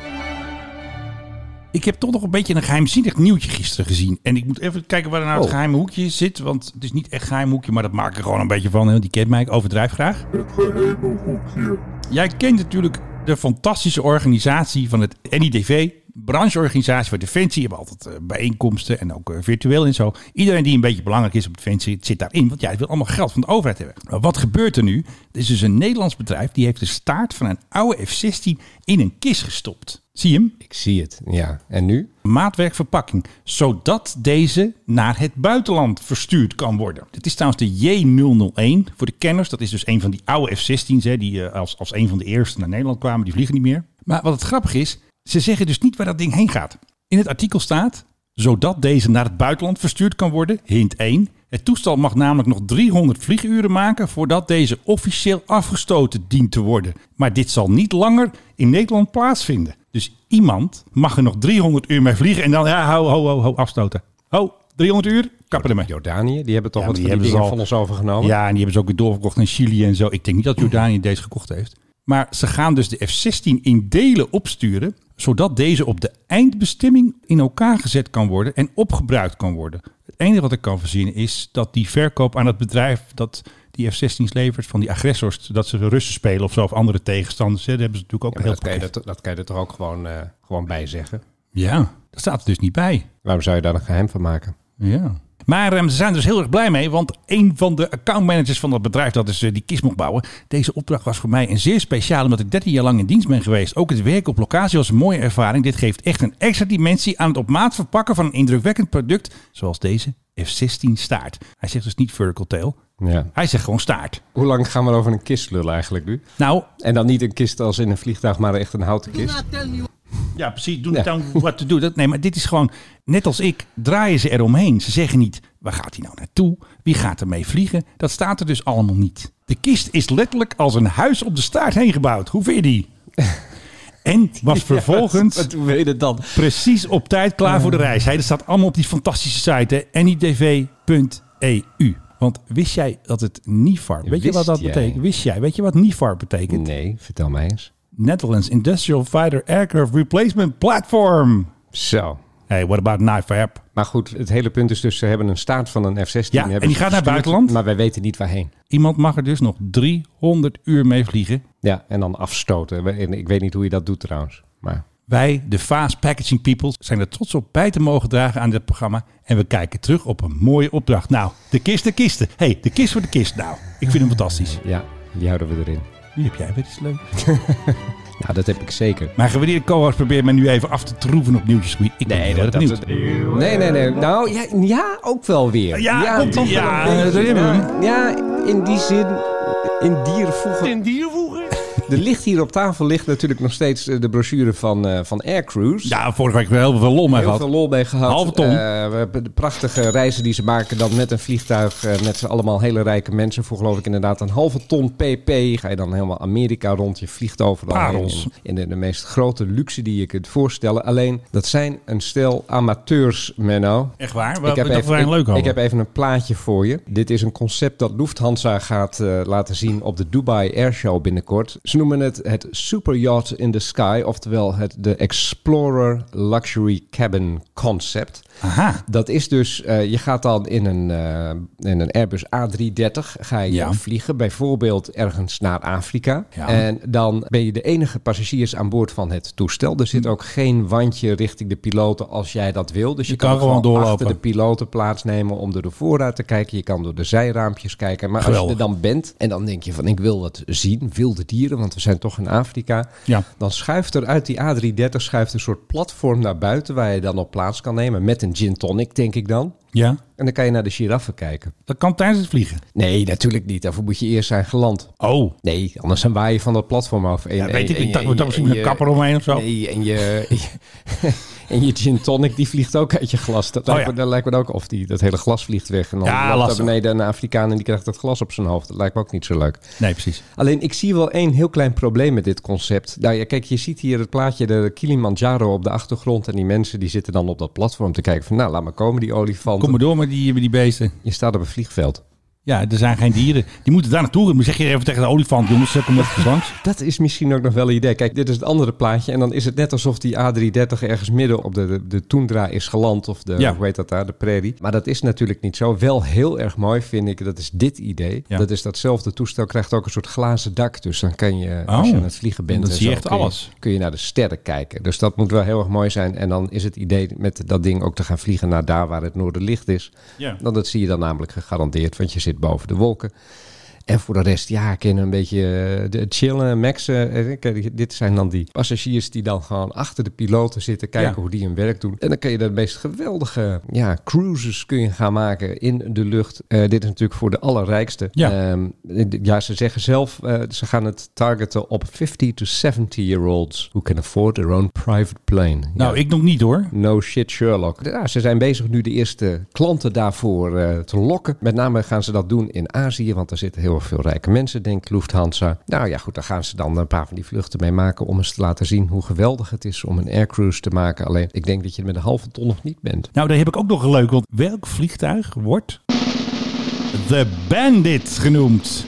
[SPEAKER 9] Ik heb toch nog een beetje een geheimzinnig nieuwtje gisteren gezien. En ik moet even kijken waar er nou het
[SPEAKER 10] Oh.
[SPEAKER 9] geheime hoekje zit. Want het is niet echt geheim hoekje, maar dat maak ik er gewoon een beetje van. hè. Die kent mij, ik overdrijf graag. Het geheime hoekje. Jij kent natuurlijk de fantastische organisatie van het NIDV. Brancheorganisatie voor Defensie. Hebben altijd eh, bijeenkomsten en ook eh, virtueel en zo. Iedereen die een beetje belangrijk is op Defensie zit daarin. Want jij wil allemaal geld van de overheid hebben. Maar wat gebeurt er nu? Er is dus een Nederlands bedrijf die heeft de staart van een oude F-16 in een kist gestopt. Zie je hem?
[SPEAKER 10] Ik zie het, ja. En nu?
[SPEAKER 9] maatwerkverpakking, zodat deze naar het buitenland verstuurd kan worden. Dit is trouwens de J001 voor de kenners. Dat is dus een van die oude F-16's, hè, die eh, als, als een van de eerste naar Nederland kwamen. Die vliegen niet meer. Maar wat het grappig is, ze zeggen dus niet waar dat ding heen gaat. In het artikel staat, zodat deze naar het buitenland verstuurd kan worden, hint 1. Het toestel mag namelijk nog 300 vlieguren maken voordat deze officieel afgestoten dient te worden. Maar dit zal niet langer in Nederland plaatsvinden. Dus iemand mag er nog 300 uur mee vliegen en dan, ja, ho, ho, ho, ho, afstoten. Ho, 300 uur, kappen ermee.
[SPEAKER 10] Jordanië, die hebben toch
[SPEAKER 9] Ja,
[SPEAKER 10] wat
[SPEAKER 9] maar
[SPEAKER 10] van die
[SPEAKER 9] die hebben ze
[SPEAKER 10] dingen
[SPEAKER 9] al.
[SPEAKER 10] van ons overgenomen?
[SPEAKER 9] Ja, en die hebben ze ook weer doorverkocht in Chili en zo. Ik denk niet dat Jordanië deze gekocht heeft. Maar ze gaan dus de F-16 in delen opsturen, zodat deze op de eindbestemming in elkaar gezet kan worden en opgebruikt kan worden. Het enige wat ik kan verzinnen is dat die verkoop aan het bedrijf dat die F-16's levert van die agressors, dat ze de Russen spelen of zo, of andere tegenstanders. hè, Dat hebben ze natuurlijk
[SPEAKER 10] Ja,
[SPEAKER 9] ook
[SPEAKER 10] maar
[SPEAKER 9] heel
[SPEAKER 10] dat, kan je,
[SPEAKER 9] pakket.
[SPEAKER 10] er toch- dat kan je er toch ook gewoon, eh, gewoon bij zeggen?
[SPEAKER 9] Ja, dat staat er dus niet bij.
[SPEAKER 10] Waarom zou je daar een geheim van maken?
[SPEAKER 9] Ja. Maar ehm, ze zijn er dus heel erg blij mee, want een van de accountmanagers van dat bedrijf dat dus eh, die kist mocht bouwen. Deze opdracht was voor mij een zeer speciaal, omdat ik 13 jaar lang in dienst ben geweest. Ook het werk op locatie was een mooie ervaring. Dit geeft echt een extra dimensie aan het op maat verpakken van een indrukwekkend product, zoals deze F-16 staart. Hij zegt dus niet vertical tail,
[SPEAKER 10] Ja.
[SPEAKER 9] hij zegt gewoon staart.
[SPEAKER 10] Hoe lang gaan we over een kist lullen eigenlijk nu?
[SPEAKER 9] Nou,
[SPEAKER 10] En dan niet een kist als in een vliegtuig, maar echt een houten kist.
[SPEAKER 9] ja precies, doe
[SPEAKER 10] Ja.
[SPEAKER 9] het dan wat te doen. Dat- Nee, maar dit is gewoon, net als ik, draaien ze eromheen. Ze zeggen niet, waar gaat hij nou naartoe? Wie gaat ermee vliegen? Dat staat er dus allemaal niet. De kist is letterlijk als een huis op de staart heen gebouwd. Hoe vind je
[SPEAKER 10] *laughs*
[SPEAKER 9] die? En was vervolgens
[SPEAKER 10] Wat hoe weet het dan?
[SPEAKER 9] precies op tijd klaar voor de reis. Hij dat staat allemaal op die fantastische site, hè, nidv.eu. E Want wist jij dat het NIFAR, weet je wat
[SPEAKER 10] Wist
[SPEAKER 9] dat
[SPEAKER 10] jij?
[SPEAKER 9] betekent? Wist jij, weet je wat NIFAR betekent?
[SPEAKER 10] Nee, vertel mij eens.
[SPEAKER 9] Netherlands Industrial Fighter Aircraft Replacement Platform.
[SPEAKER 10] Zo.
[SPEAKER 9] Hey, what about NIFAP?
[SPEAKER 10] Maar goed, het hele punt is dus, ze hebben een staat van een F-16.
[SPEAKER 9] Ja,
[SPEAKER 10] hebben
[SPEAKER 9] en die
[SPEAKER 10] ze
[SPEAKER 9] gaat naar
[SPEAKER 10] gestuurd,
[SPEAKER 9] buitenland?
[SPEAKER 10] Maar wij weten niet waarheen.
[SPEAKER 9] Iemand mag er dus nog 300 uur mee vliegen.
[SPEAKER 10] Ja, en dan afstoten. We- en Ik weet niet hoe je dat doet trouwens. Maar
[SPEAKER 9] Wij, de Fast Packaging People, zijn er trots op bij te mogen dragen aan dit programma. En we kijken terug op een mooie opdracht. Nou, de kist, de kisten. hey, de kist voor de kist. Nou, ik vind hem fantastisch.
[SPEAKER 10] ja, die houden we erin.
[SPEAKER 9] Nu heb jij weer iets leuks.
[SPEAKER 10] Nou, dat heb ik zeker.
[SPEAKER 9] Mijn gewaardeerde co-host probeert mij nu even af te troeven op nieuwtjesgebied. Ik ben heel erg benieuwd.
[SPEAKER 10] Nee, nee, nee. Nou, ja, ja ook wel weer.
[SPEAKER 9] Ja, komt toch
[SPEAKER 10] ja,
[SPEAKER 9] wel een beetje.
[SPEAKER 10] ja, ja, in die zin... In dierenvoegen. In dierenvoegen? Er ligt hier op tafel ligt natuurlijk nog steeds eh, de brochure van, eh van Aircruise.
[SPEAKER 9] Ja, vorige week hebben we heel veel lol mee
[SPEAKER 10] Heel
[SPEAKER 9] gehad.
[SPEAKER 10] veel lol mee gehad.
[SPEAKER 9] Halve ton.
[SPEAKER 10] Eh, we hebben de prachtige reizen die ze maken dan met een vliegtuig. eh, met z'n allemaal hele rijke mensen. Voor geloof ik inderdaad een halve ton pp. Ga je dan helemaal Amerika rond. Je vliegt overal heen.
[SPEAKER 9] Parels.
[SPEAKER 10] In, in de, de meest grote luxe die je kunt voorstellen. Alleen, dat zijn een stel amateurs, Menno.
[SPEAKER 9] Echt waar? Wat- dat
[SPEAKER 10] even,
[SPEAKER 9] we een leuk
[SPEAKER 10] ik, ik
[SPEAKER 9] hadden.
[SPEAKER 10] heb even een plaatje voor je. Dit is een concept dat Lufthansa gaat eh, laten zien op de Dubai Airshow binnenkort. Ze noemen het het Super Yacht in the Sky, oftewel het de Explorer Luxury Cabin Concept.
[SPEAKER 9] Aha.
[SPEAKER 10] Dat is dus, eh, je gaat dan in een, eh, in een Airbus A330 ga je
[SPEAKER 9] Ja.
[SPEAKER 10] vliegen, bijvoorbeeld ergens naar Afrika.
[SPEAKER 9] Ja.
[SPEAKER 10] En dan ben je de enige passagiers aan boord van het toestel. Er
[SPEAKER 9] Hm.
[SPEAKER 10] zit ook geen wandje richting de piloten als jij dat wil. Dus je,
[SPEAKER 9] kan gewoon doorlopen.
[SPEAKER 10] achter de piloten plaatsnemen om door de voorruit te kijken. Je kan door de zijraampjes kijken. Maar als
[SPEAKER 9] Geweldig.
[SPEAKER 10] je er dan bent en dan denk je van ik wil wat zien, wilde dieren, want we zijn toch in Afrika.
[SPEAKER 9] Ja.
[SPEAKER 10] Dan schuift er uit die A330 schuift een soort platform naar buiten waar je dan op plaats kan nemen. Met een gin tonic, denk ik dan.
[SPEAKER 9] Ja,
[SPEAKER 10] En dan kan je naar de giraffen kijken.
[SPEAKER 9] dat kan tijdens het vliegen.
[SPEAKER 10] Nee, natuurlijk niet. Daarvoor moet je eerst zijn geland.
[SPEAKER 9] Oh,
[SPEAKER 10] Nee, anders dan waai je van dat platform af. En-
[SPEAKER 9] ja, weet
[SPEAKER 10] en-
[SPEAKER 9] ik. Ik
[SPEAKER 10] en-
[SPEAKER 9] dacht, we
[SPEAKER 10] en-
[SPEAKER 9] dachten misschien
[SPEAKER 10] en
[SPEAKER 9] een
[SPEAKER 10] je-
[SPEAKER 9] kapper omheen of zo.
[SPEAKER 10] Nee, en je, *laughs* en je gin tonic die vliegt ook uit je glas. Dat, lijkt,
[SPEAKER 9] Oh ja.
[SPEAKER 10] me, dat lijkt me ook. Of die, dat hele glas vliegt weg. En dan
[SPEAKER 9] Ja,
[SPEAKER 10] loopt
[SPEAKER 9] lastig.
[SPEAKER 10] daar beneden een Afrikaan en die krijgt dat glas op zijn hoofd. Dat lijkt me ook niet zo leuk.
[SPEAKER 9] Nee, precies.
[SPEAKER 10] Alleen ik zie wel één heel klein probleem met dit concept. Nou ja, kijk, je ziet hier het plaatje, de Kilimanjaro op de achtergrond. En die mensen die zitten dan op dat platform te kijken van, nou laat maar komen die olifanten.
[SPEAKER 9] Kom maar door met die, met die beesten.
[SPEAKER 10] Je staat op een vliegveld.
[SPEAKER 9] Ja, er zijn geen dieren. Die moeten daar naartoe. Dan zeg je even tegen de olifant, jongens, ze komen even langs.
[SPEAKER 10] Dat is misschien ook nog wel een idee. Kijk, dit is het andere plaatje. En dan is het net alsof die A330 ergens midden op de, de, de tundra is geland. Of de,
[SPEAKER 9] Ja.
[SPEAKER 10] hoe heet dat daar, de prairie. Maar dat is natuurlijk niet zo. Wel heel erg mooi vind ik, dat is dit idee.
[SPEAKER 9] Ja.
[SPEAKER 10] Dat is datzelfde toestel, krijgt ook een soort glazen dak. Dus dan kan je, als je
[SPEAKER 9] Oh.
[SPEAKER 10] aan het vliegen bent...
[SPEAKER 9] Dan
[SPEAKER 10] en
[SPEAKER 9] zie je
[SPEAKER 10] zo,
[SPEAKER 9] echt
[SPEAKER 10] kun
[SPEAKER 9] alles.
[SPEAKER 10] kun je naar de sterren kijken. Dus dat moet wel heel erg mooi zijn. En dan is het idee met dat ding ook te gaan vliegen naar daar waar het noorderlicht is.
[SPEAKER 9] Ja.
[SPEAKER 10] Dan dat zie je dan namelijk gegarandeerd, want je zit boven de wolken. En voor de rest, ja, kun je een beetje eh, de- chillen, maxen. Eh, kijk, Dit zijn dan die passagiers die dan gewoon achter de piloten zitten, kijken
[SPEAKER 9] Ja.
[SPEAKER 10] hoe die hun werk doen. En dan kun je de meest geweldige ja, cruises kun je gaan maken in de lucht. Eh, dit is natuurlijk voor de allerrijkste.
[SPEAKER 9] Ja.
[SPEAKER 10] Ehm, ja, ze zeggen zelf, eh, ze gaan het targeten op 50 to 70-year-olds who can afford their own private plane.
[SPEAKER 9] Nou,
[SPEAKER 10] Ja.
[SPEAKER 9] ik nog niet hoor.
[SPEAKER 10] No shit Sherlock. Ja, ze zijn bezig nu de eerste klanten daarvoor eh, te lokken. Met name gaan ze dat doen in Azië, want daar zitten heel erg veel rijke mensen, denkt Lufthansa. Nou ja, goed, daar gaan ze dan een paar van die vluchten mee maken om eens te laten zien hoe geweldig het is om een aircruise te maken. Alleen, ik denk dat je er met een halve ton nog niet bent.
[SPEAKER 9] Nou, daar heb ik ook nog een leuk. Want welk vliegtuig wordt The Bandit genoemd?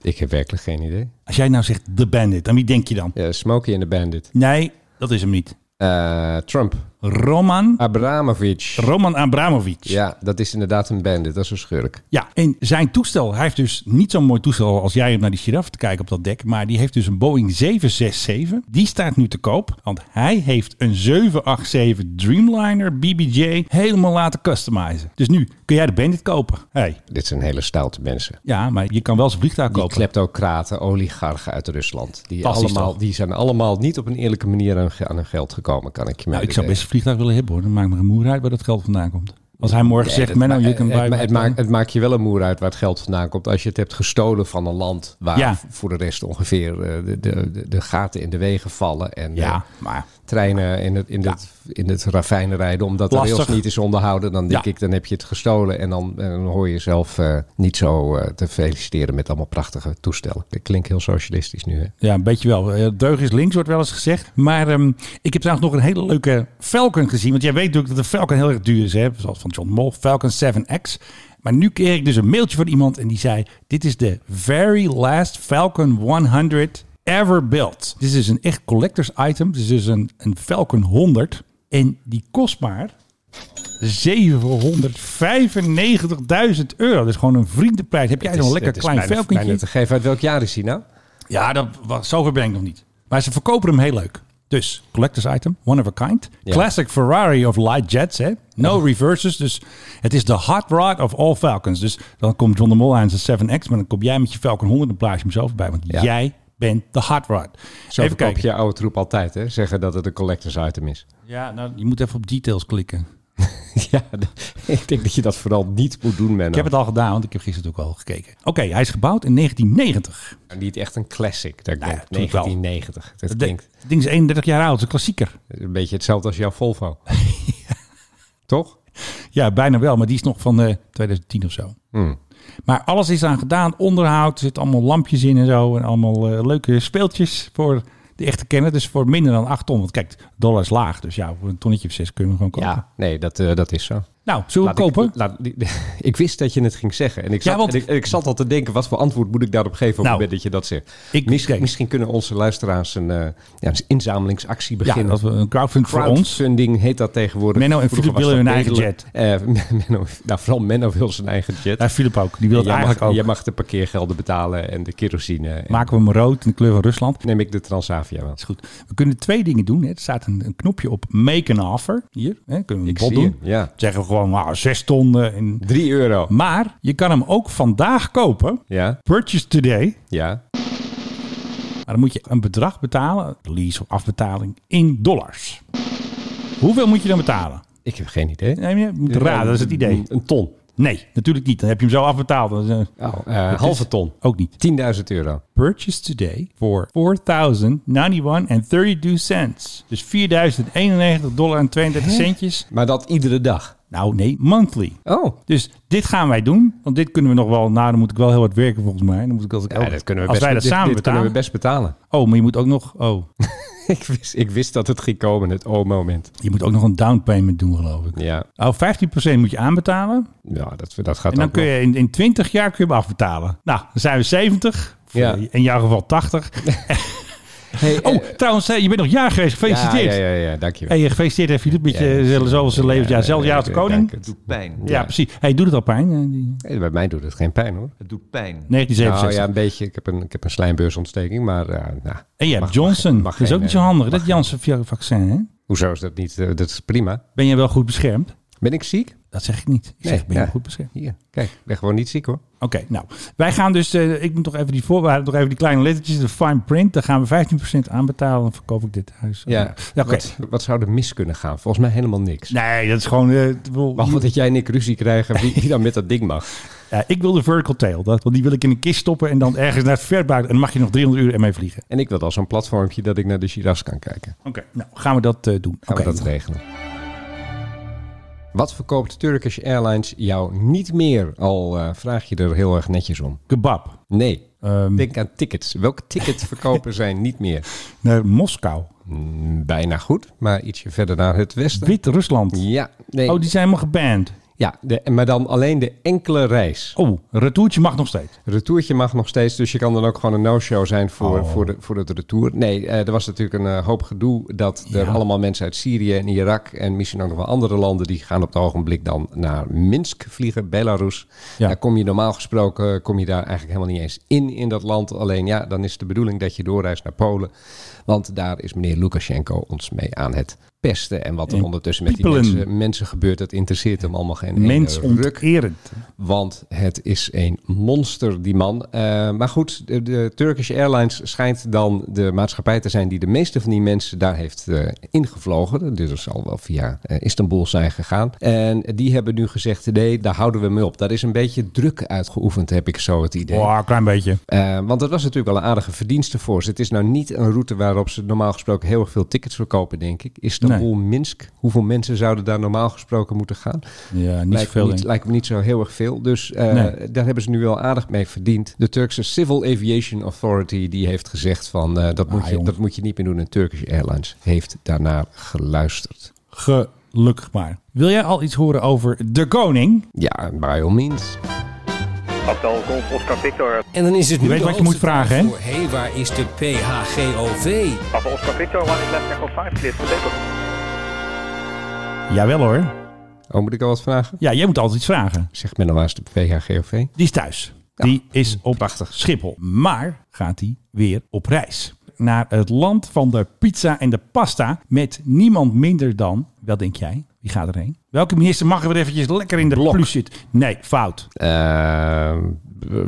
[SPEAKER 10] Ik heb werkelijk geen idee.
[SPEAKER 9] Als jij nou zegt The Bandit, aan wie denk je dan?
[SPEAKER 10] Ja, Smokey en de Bandit.
[SPEAKER 9] Nee, dat is hem niet.
[SPEAKER 10] Eh, Trump.
[SPEAKER 9] Roman,
[SPEAKER 10] Abramovich.
[SPEAKER 9] Roman Abramovic.
[SPEAKER 10] Ja, dat is inderdaad een bandit. Dat is een schurk.
[SPEAKER 9] Ja, en zijn toestel, hij heeft dus niet zo'n mooi toestel als jij om naar die giraffe te kijken op dat dek. Maar die heeft dus een Boeing 767. Die staat nu te koop, want hij heeft een 787 Dreamliner BBJ helemaal laten customizen. Dus nu kun jij de Bandit kopen. Hey,
[SPEAKER 10] Dit zijn hele stoute mensen.
[SPEAKER 9] ja, maar je kan wel zijn vliegtuig
[SPEAKER 10] Die
[SPEAKER 9] kopen.
[SPEAKER 10] kleptocraten, oligarchen uit Rusland. Die,
[SPEAKER 9] Fantastisch
[SPEAKER 10] allemaal,
[SPEAKER 9] toch?
[SPEAKER 10] die zijn allemaal niet op een eerlijke manier aan, ge- aan hun geld gekomen, kan ik je
[SPEAKER 9] Nou,
[SPEAKER 10] melden.
[SPEAKER 9] ik zou best een vliegtuig willen hebben hoor. Dan maakt me een moer uit waar dat geld vandaan komt. Als hij morgen
[SPEAKER 10] Nee,
[SPEAKER 9] zegt,
[SPEAKER 10] dat
[SPEAKER 9] Menno,
[SPEAKER 10] ma-
[SPEAKER 9] je kan
[SPEAKER 10] het, ma-
[SPEAKER 9] bij...
[SPEAKER 10] het, maakt, het maakt je wel een moer uit waar het geld vandaan komt. Als je het hebt gestolen van een land waar
[SPEAKER 9] Ja.
[SPEAKER 10] v- voor de rest ongeveer eh, de, de, de- de gaten in de wegen vallen. En
[SPEAKER 9] Ja,
[SPEAKER 10] eh,
[SPEAKER 9] maar...
[SPEAKER 10] treinen in het, in, het, in het ravijn rijden omdat de
[SPEAKER 9] Lastig.
[SPEAKER 10] rails niet is onderhouden. Dan denk
[SPEAKER 9] Ja.
[SPEAKER 10] ik, dan heb je het gestolen. En dan, eh, dan hoor je jezelf eh, niet zo eh, te feliciteren met allemaal prachtige toestellen. Ik klink heel socialistisch nu, hè?
[SPEAKER 9] Ja, een beetje wel. Eh, Deug is links, wordt wel eens gezegd. Maar ehm, ik heb trouwens nog een hele leuke Falcon gezien. Want jij weet natuurlijk dat de Falcon heel erg duur is. Hè? Zoals van John Mol, Falcon 7X. Maar nu kreeg ik dus een mailtje van iemand en die zei: Dit is de very last Falcon 100 ever built. Dit is dus een echt collectors item. Dit is dus een, een Falcon 100. En die kost maar 795.000 euro. Dus gewoon een vriendenprijs. Heb jij
[SPEAKER 10] Het is-
[SPEAKER 9] zo'n lekker
[SPEAKER 10] het is
[SPEAKER 9] klein
[SPEAKER 10] bijna- bijna
[SPEAKER 9] Falcontje?
[SPEAKER 10] te geven uit welk jaar is hij nou?
[SPEAKER 9] Ja, dat was, zover ben ik nog niet. Maar ze verkopen hem heel leuk. Dus, collector's item, one of a kind.
[SPEAKER 10] Ja.
[SPEAKER 9] Classic Ferrari of light jets, hè. No reverses, dus het is de hot rod of all Falcons. Dus dan komt John de Mol aan zijn 7X, maar dan kom jij met je Falcon 100 en plaats je hem zo voorbij. Want
[SPEAKER 10] Ja.
[SPEAKER 9] jij bent de hot rod.
[SPEAKER 10] Zo verkoop je oude troep altijd, hè? Zeggen dat het een collectors item
[SPEAKER 9] *laughs*
[SPEAKER 10] is.
[SPEAKER 9] Ja, nou, je moet even op details klikken.
[SPEAKER 10] ja, d- ik denk dat je dat vooral niet moet doen, Menno.
[SPEAKER 9] Ik heb het al gedaan, want ik heb gisteren ook al gekeken. Oké, hij is gebouwd in 1990.
[SPEAKER 10] het niet echt een classic. Dat
[SPEAKER 9] Nou ja,
[SPEAKER 10] denk
[SPEAKER 9] toen wel.
[SPEAKER 10] 1990. Dat
[SPEAKER 9] Het
[SPEAKER 10] klinkt
[SPEAKER 9] ding is 31 jaar oud, het is een klassieker.
[SPEAKER 10] een beetje hetzelfde als jouw
[SPEAKER 9] *laughs*
[SPEAKER 10] Volvo. Toch?
[SPEAKER 9] Ja, bijna wel, maar die is nog van eh, 2010 of zo.
[SPEAKER 10] Hmm.
[SPEAKER 9] Maar alles is aan gedaan, onderhoud, er zitten allemaal lampjes in en zo. En allemaal eh, leuke speeltjes voor de echte kenner. Dus voor minder dan 800. Kijk, dollar is laag, dus ja, voor een tonnetje of zes kunnen we gewoon kopen.
[SPEAKER 10] Ja, nee, dat, eh, dat is zo.
[SPEAKER 9] Nou, zullen we
[SPEAKER 10] Laat ik-
[SPEAKER 9] kopen?
[SPEAKER 10] laat- *laughs* ik wist dat je het ging zeggen. En ik,
[SPEAKER 9] Ja,
[SPEAKER 10] zat,
[SPEAKER 9] want-
[SPEAKER 10] en ik, en ik zat al te denken, wat voor antwoord moet ik daarop geven op
[SPEAKER 9] Nou,
[SPEAKER 10] het moment dat je dat zegt?
[SPEAKER 9] ik-
[SPEAKER 10] Misschien-
[SPEAKER 9] kijk.
[SPEAKER 10] misschien kunnen onze luisteraars een, eh, ja, een inzamelingsactie beginnen.
[SPEAKER 9] ja, dat we een crowdfund voor ons.
[SPEAKER 10] Crowdfunding heet dat tegenwoordig.
[SPEAKER 9] Menno en
[SPEAKER 10] Vroeger
[SPEAKER 9] Filip
[SPEAKER 10] was
[SPEAKER 9] willen
[SPEAKER 10] dat
[SPEAKER 9] hun eigen
[SPEAKER 10] bedelen. Eh, *laughs* Menno, nou, vooral Menno wil zijn eigen jet.
[SPEAKER 9] Daar Philip ook, Nou, die wil
[SPEAKER 10] En
[SPEAKER 9] het
[SPEAKER 10] jij,
[SPEAKER 9] eigenlijk
[SPEAKER 10] mag,
[SPEAKER 9] ook.
[SPEAKER 10] jij mag de parkeergelden betalen en de kerosine. En
[SPEAKER 9] Maken we hem rood in de kleur van Rusland.
[SPEAKER 10] Neem ik de Transavia wel.
[SPEAKER 9] Is goed. We kunnen twee dingen doen. Hè. Er staat een, een knopje op make an offer. Hier, hè, kunnen we een
[SPEAKER 10] Ik
[SPEAKER 9] bod
[SPEAKER 10] zie
[SPEAKER 9] doen.
[SPEAKER 10] je, ja.
[SPEAKER 9] Zeggen we gewoon, nou, zes ton. eh, en...
[SPEAKER 10] 3 euro.
[SPEAKER 9] Maar je kan hem ook vandaag kopen.
[SPEAKER 10] Ja,
[SPEAKER 9] Purchase today.
[SPEAKER 10] ja.
[SPEAKER 9] Maar dan moet je een bedrag betalen, lease of afbetaling, in dollars. Hoeveel moet je dan betalen?
[SPEAKER 10] Ik heb geen idee.
[SPEAKER 9] Nee, je moet raden, dat is het idee.
[SPEAKER 10] Een, een ton.
[SPEAKER 9] Nee, natuurlijk niet. Dan heb je hem zo afbetaald. Dat is, eh,
[SPEAKER 10] Oh, eh, halve ton.
[SPEAKER 9] Ook niet.
[SPEAKER 10] 10.000 euro.
[SPEAKER 9] Purchase today voor 4.091 and 32 cents. Dus 4.091 dollar en 32 centjes.
[SPEAKER 10] Maar dat iedere dag.
[SPEAKER 9] Nou nee, monthly.
[SPEAKER 10] Oh.
[SPEAKER 9] Dus dit gaan wij doen. Want dit kunnen we nog wel. Nou, dan moet ik wel heel hard werken volgens mij. Dan moet ik als, ik
[SPEAKER 10] Ja, dat kunnen we
[SPEAKER 9] als
[SPEAKER 10] best,
[SPEAKER 9] wij dat
[SPEAKER 10] dit-
[SPEAKER 9] samen
[SPEAKER 10] dit kunnen
[SPEAKER 9] betalen.
[SPEAKER 10] we best betalen. *laughs*
[SPEAKER 9] Oh, maar je moet ook nog. Oh,
[SPEAKER 10] ik, wist, ik wist dat het ging komen, het O-moment.
[SPEAKER 9] je moet ook nog een down payment doen, geloof ik.
[SPEAKER 10] Ja,
[SPEAKER 9] Oh, 15% moet je aanbetalen.
[SPEAKER 10] ja dat, dat gaat
[SPEAKER 9] En dan
[SPEAKER 10] ook
[SPEAKER 9] kun
[SPEAKER 10] nog.
[SPEAKER 9] je in, in 20 jaar kun je hem afbetalen. Nou, dan zijn we 70. Of,
[SPEAKER 10] Ja.
[SPEAKER 9] eh, In jouw geval 80.
[SPEAKER 10] *laughs* Hey, eh,
[SPEAKER 9] Oh, trouwens, eh, je bent nog jaar geweest. Gefeliciteerd.
[SPEAKER 10] Ja, ja, ja, ja, dankjewel.
[SPEAKER 9] Hey, eh, gefeliciteerd hè, Filip, met
[SPEAKER 10] Ja,
[SPEAKER 9] je
[SPEAKER 10] dat
[SPEAKER 9] zelfs
[SPEAKER 10] is-
[SPEAKER 9] zoals ze levert. Ja, zelfs jaar als
[SPEAKER 10] ik-
[SPEAKER 9] koning.
[SPEAKER 10] dank het.
[SPEAKER 8] Pijn.
[SPEAKER 9] Ja, precies. Hey, doet het al pijn? eh, die-
[SPEAKER 10] Hey, bij mij doet het geen pijn hoor.
[SPEAKER 8] Het doet pijn.
[SPEAKER 9] 1967.
[SPEAKER 10] Nou ja, een beetje. Ik heb een, ik heb een slijmbeursontsteking, maar ja, nou,
[SPEAKER 9] En je
[SPEAKER 10] mag-
[SPEAKER 9] hebt
[SPEAKER 10] mag-
[SPEAKER 9] Johnson.
[SPEAKER 10] mag
[SPEAKER 9] dat is
[SPEAKER 10] geen,
[SPEAKER 9] ook niet zo
[SPEAKER 10] eh,
[SPEAKER 9] handig.
[SPEAKER 10] mag
[SPEAKER 9] Dat Janssen-vaccin, hè?
[SPEAKER 10] Hoezo is dat niet? eh, dat is prima.
[SPEAKER 9] Ben je wel goed beschermd?
[SPEAKER 10] Ben ik ziek?
[SPEAKER 9] Dat zeg ik niet. Ik zeg,
[SPEAKER 10] Nee,
[SPEAKER 9] ben je
[SPEAKER 10] ja.
[SPEAKER 9] goed beschermd?
[SPEAKER 10] Hier, kijk, ik ben gewoon niet ziek hoor.
[SPEAKER 9] Oké, nou. Wij gaan dus, eh, ik moet toch even die voorwaarden, nog even die kleine lettertjes, de fine print. Daar gaan we 15% aan betalen, dan verkoop ik dit huis. oké.
[SPEAKER 10] Wat, wat zou er mis kunnen gaan? Volgens mij helemaal niks.
[SPEAKER 9] Nee, dat is gewoon... eh, ik bedoel,
[SPEAKER 10] Behalve dat jij en ik ruzie krijgen wie, wie dan met dat ding mag.
[SPEAKER 9] ja, ik wil de vertical tail, dat, want die wil ik in een kist stoppen en dan ergens naar het verbuiten. En dan mag je nog 300 uur ermee vliegen.
[SPEAKER 10] En ik wil al zo'n platformpje dat ik naar de Shiraz kan kijken.
[SPEAKER 9] Oké, nou gaan we dat eh, doen.
[SPEAKER 10] Gaan
[SPEAKER 9] Oké.
[SPEAKER 10] we dat regelen. Wat verkoopt Turkish Airlines jou niet meer? Al eh, vraag je er heel erg netjes om.
[SPEAKER 9] Kebab.
[SPEAKER 10] Nee,
[SPEAKER 9] Ehm,
[SPEAKER 10] denk aan tickets. Welke tickets verkopen zijn niet meer?
[SPEAKER 9] naar Moskou.
[SPEAKER 10] Mm, Bijna goed, maar ietsje verder naar het westen.
[SPEAKER 9] Wit-Rusland.
[SPEAKER 10] Ja, nee.
[SPEAKER 9] Oh, die zijn helemaal geband.
[SPEAKER 10] ja de, maar dan alleen de enkele reis.
[SPEAKER 9] Oh, retourtje mag nog steeds.
[SPEAKER 10] Retourtje mag nog steeds, dus je kan dan ook gewoon een no-show zijn voor,
[SPEAKER 9] Oh.
[SPEAKER 10] voor, de, voor het retour. Nee, eh, er was natuurlijk een eh, hoop gedoe dat er allemaal mensen uit Syrië en Irak en misschien ook nog wel andere landen, die gaan op het ogenblik dan naar Minsk vliegen, Belarus.
[SPEAKER 9] Ja.
[SPEAKER 10] Daar kom je normaal gesproken, eh, kom je daar eigenlijk helemaal niet eens in, in dat land. Alleen ja, dan is de bedoeling dat je doorreist naar Polen, want daar is meneer Lukashenko ons mee aan het pesten. En wat er
[SPEAKER 9] En
[SPEAKER 10] ondertussen met die
[SPEAKER 9] piepelen.
[SPEAKER 10] mensen, mensen gebeurt, dat interesseert hem allemaal geen ene ruk.
[SPEAKER 9] Mensonterend.
[SPEAKER 10] Want het is een monster, die man. Eh, maar goed, de, de Turkish Airlines schijnt dan de maatschappij te zijn die de meeste van die mensen daar heeft eh, ingevlogen. Dus dat zal wel via eh, Istanbul zijn gegaan. En die hebben nu gezegd: nee, daar houden we mee op. Daar is een beetje druk uitgeoefend, heb ik zo het idee.
[SPEAKER 9] Oh, een klein beetje.
[SPEAKER 10] Eh, want dat was natuurlijk wel een aardige verdienste voor ze. Het is nou niet een route waarop ze normaal gesproken heel erg veel tickets verkopen, denk ik. Istanbul, Minsk. Hoeveel mensen zouden daar normaal gesproken moeten gaan?
[SPEAKER 9] Ja, niet
[SPEAKER 10] lijkt,
[SPEAKER 9] zoveel.
[SPEAKER 10] me niet,
[SPEAKER 9] denk ik.
[SPEAKER 10] lijkt me niet zo heel erg veel. Dus eh,
[SPEAKER 9] Nee.
[SPEAKER 10] daar hebben ze nu wel aardig mee verdiend. De Turkse Civil Aviation Authority die heeft gezegd van eh, dat, moet je,
[SPEAKER 9] Ah, jong.
[SPEAKER 10] dat moet je niet meer doen. En Turkish Airlines heeft daarnaar geluisterd.
[SPEAKER 9] Gelukkig maar. Wil jij al iets horen over de koning?
[SPEAKER 10] Ja, by all means.
[SPEAKER 6] Abdel Golf Oscar Victor.
[SPEAKER 11] En dan is het nu
[SPEAKER 9] weet
[SPEAKER 11] de
[SPEAKER 9] wat je moet
[SPEAKER 11] hoogste tijd
[SPEAKER 9] vragen, hè?
[SPEAKER 11] voor, Hé, waar is de PHGOV?
[SPEAKER 6] Papa Oscar Victor, one is left echo 5, clear for takeoff.
[SPEAKER 9] Jawel hoor.
[SPEAKER 10] Oh, moet ik al wat vragen?
[SPEAKER 9] Ja, jij moet altijd iets vragen.
[SPEAKER 10] Zeg Menno, waar is de VHGOV?
[SPEAKER 9] Die is thuis. die is op
[SPEAKER 10] prachtig.
[SPEAKER 9] Schiphol. Maar gaat hij weer op reis. Naar het land van de pizza en de pasta. Met niemand minder dan, wel denk jij, wie gaat erheen? Welke minister mag er weer eventjes lekker in de
[SPEAKER 10] Blok.
[SPEAKER 9] plus zitten? Nee, fout.
[SPEAKER 10] Ehm,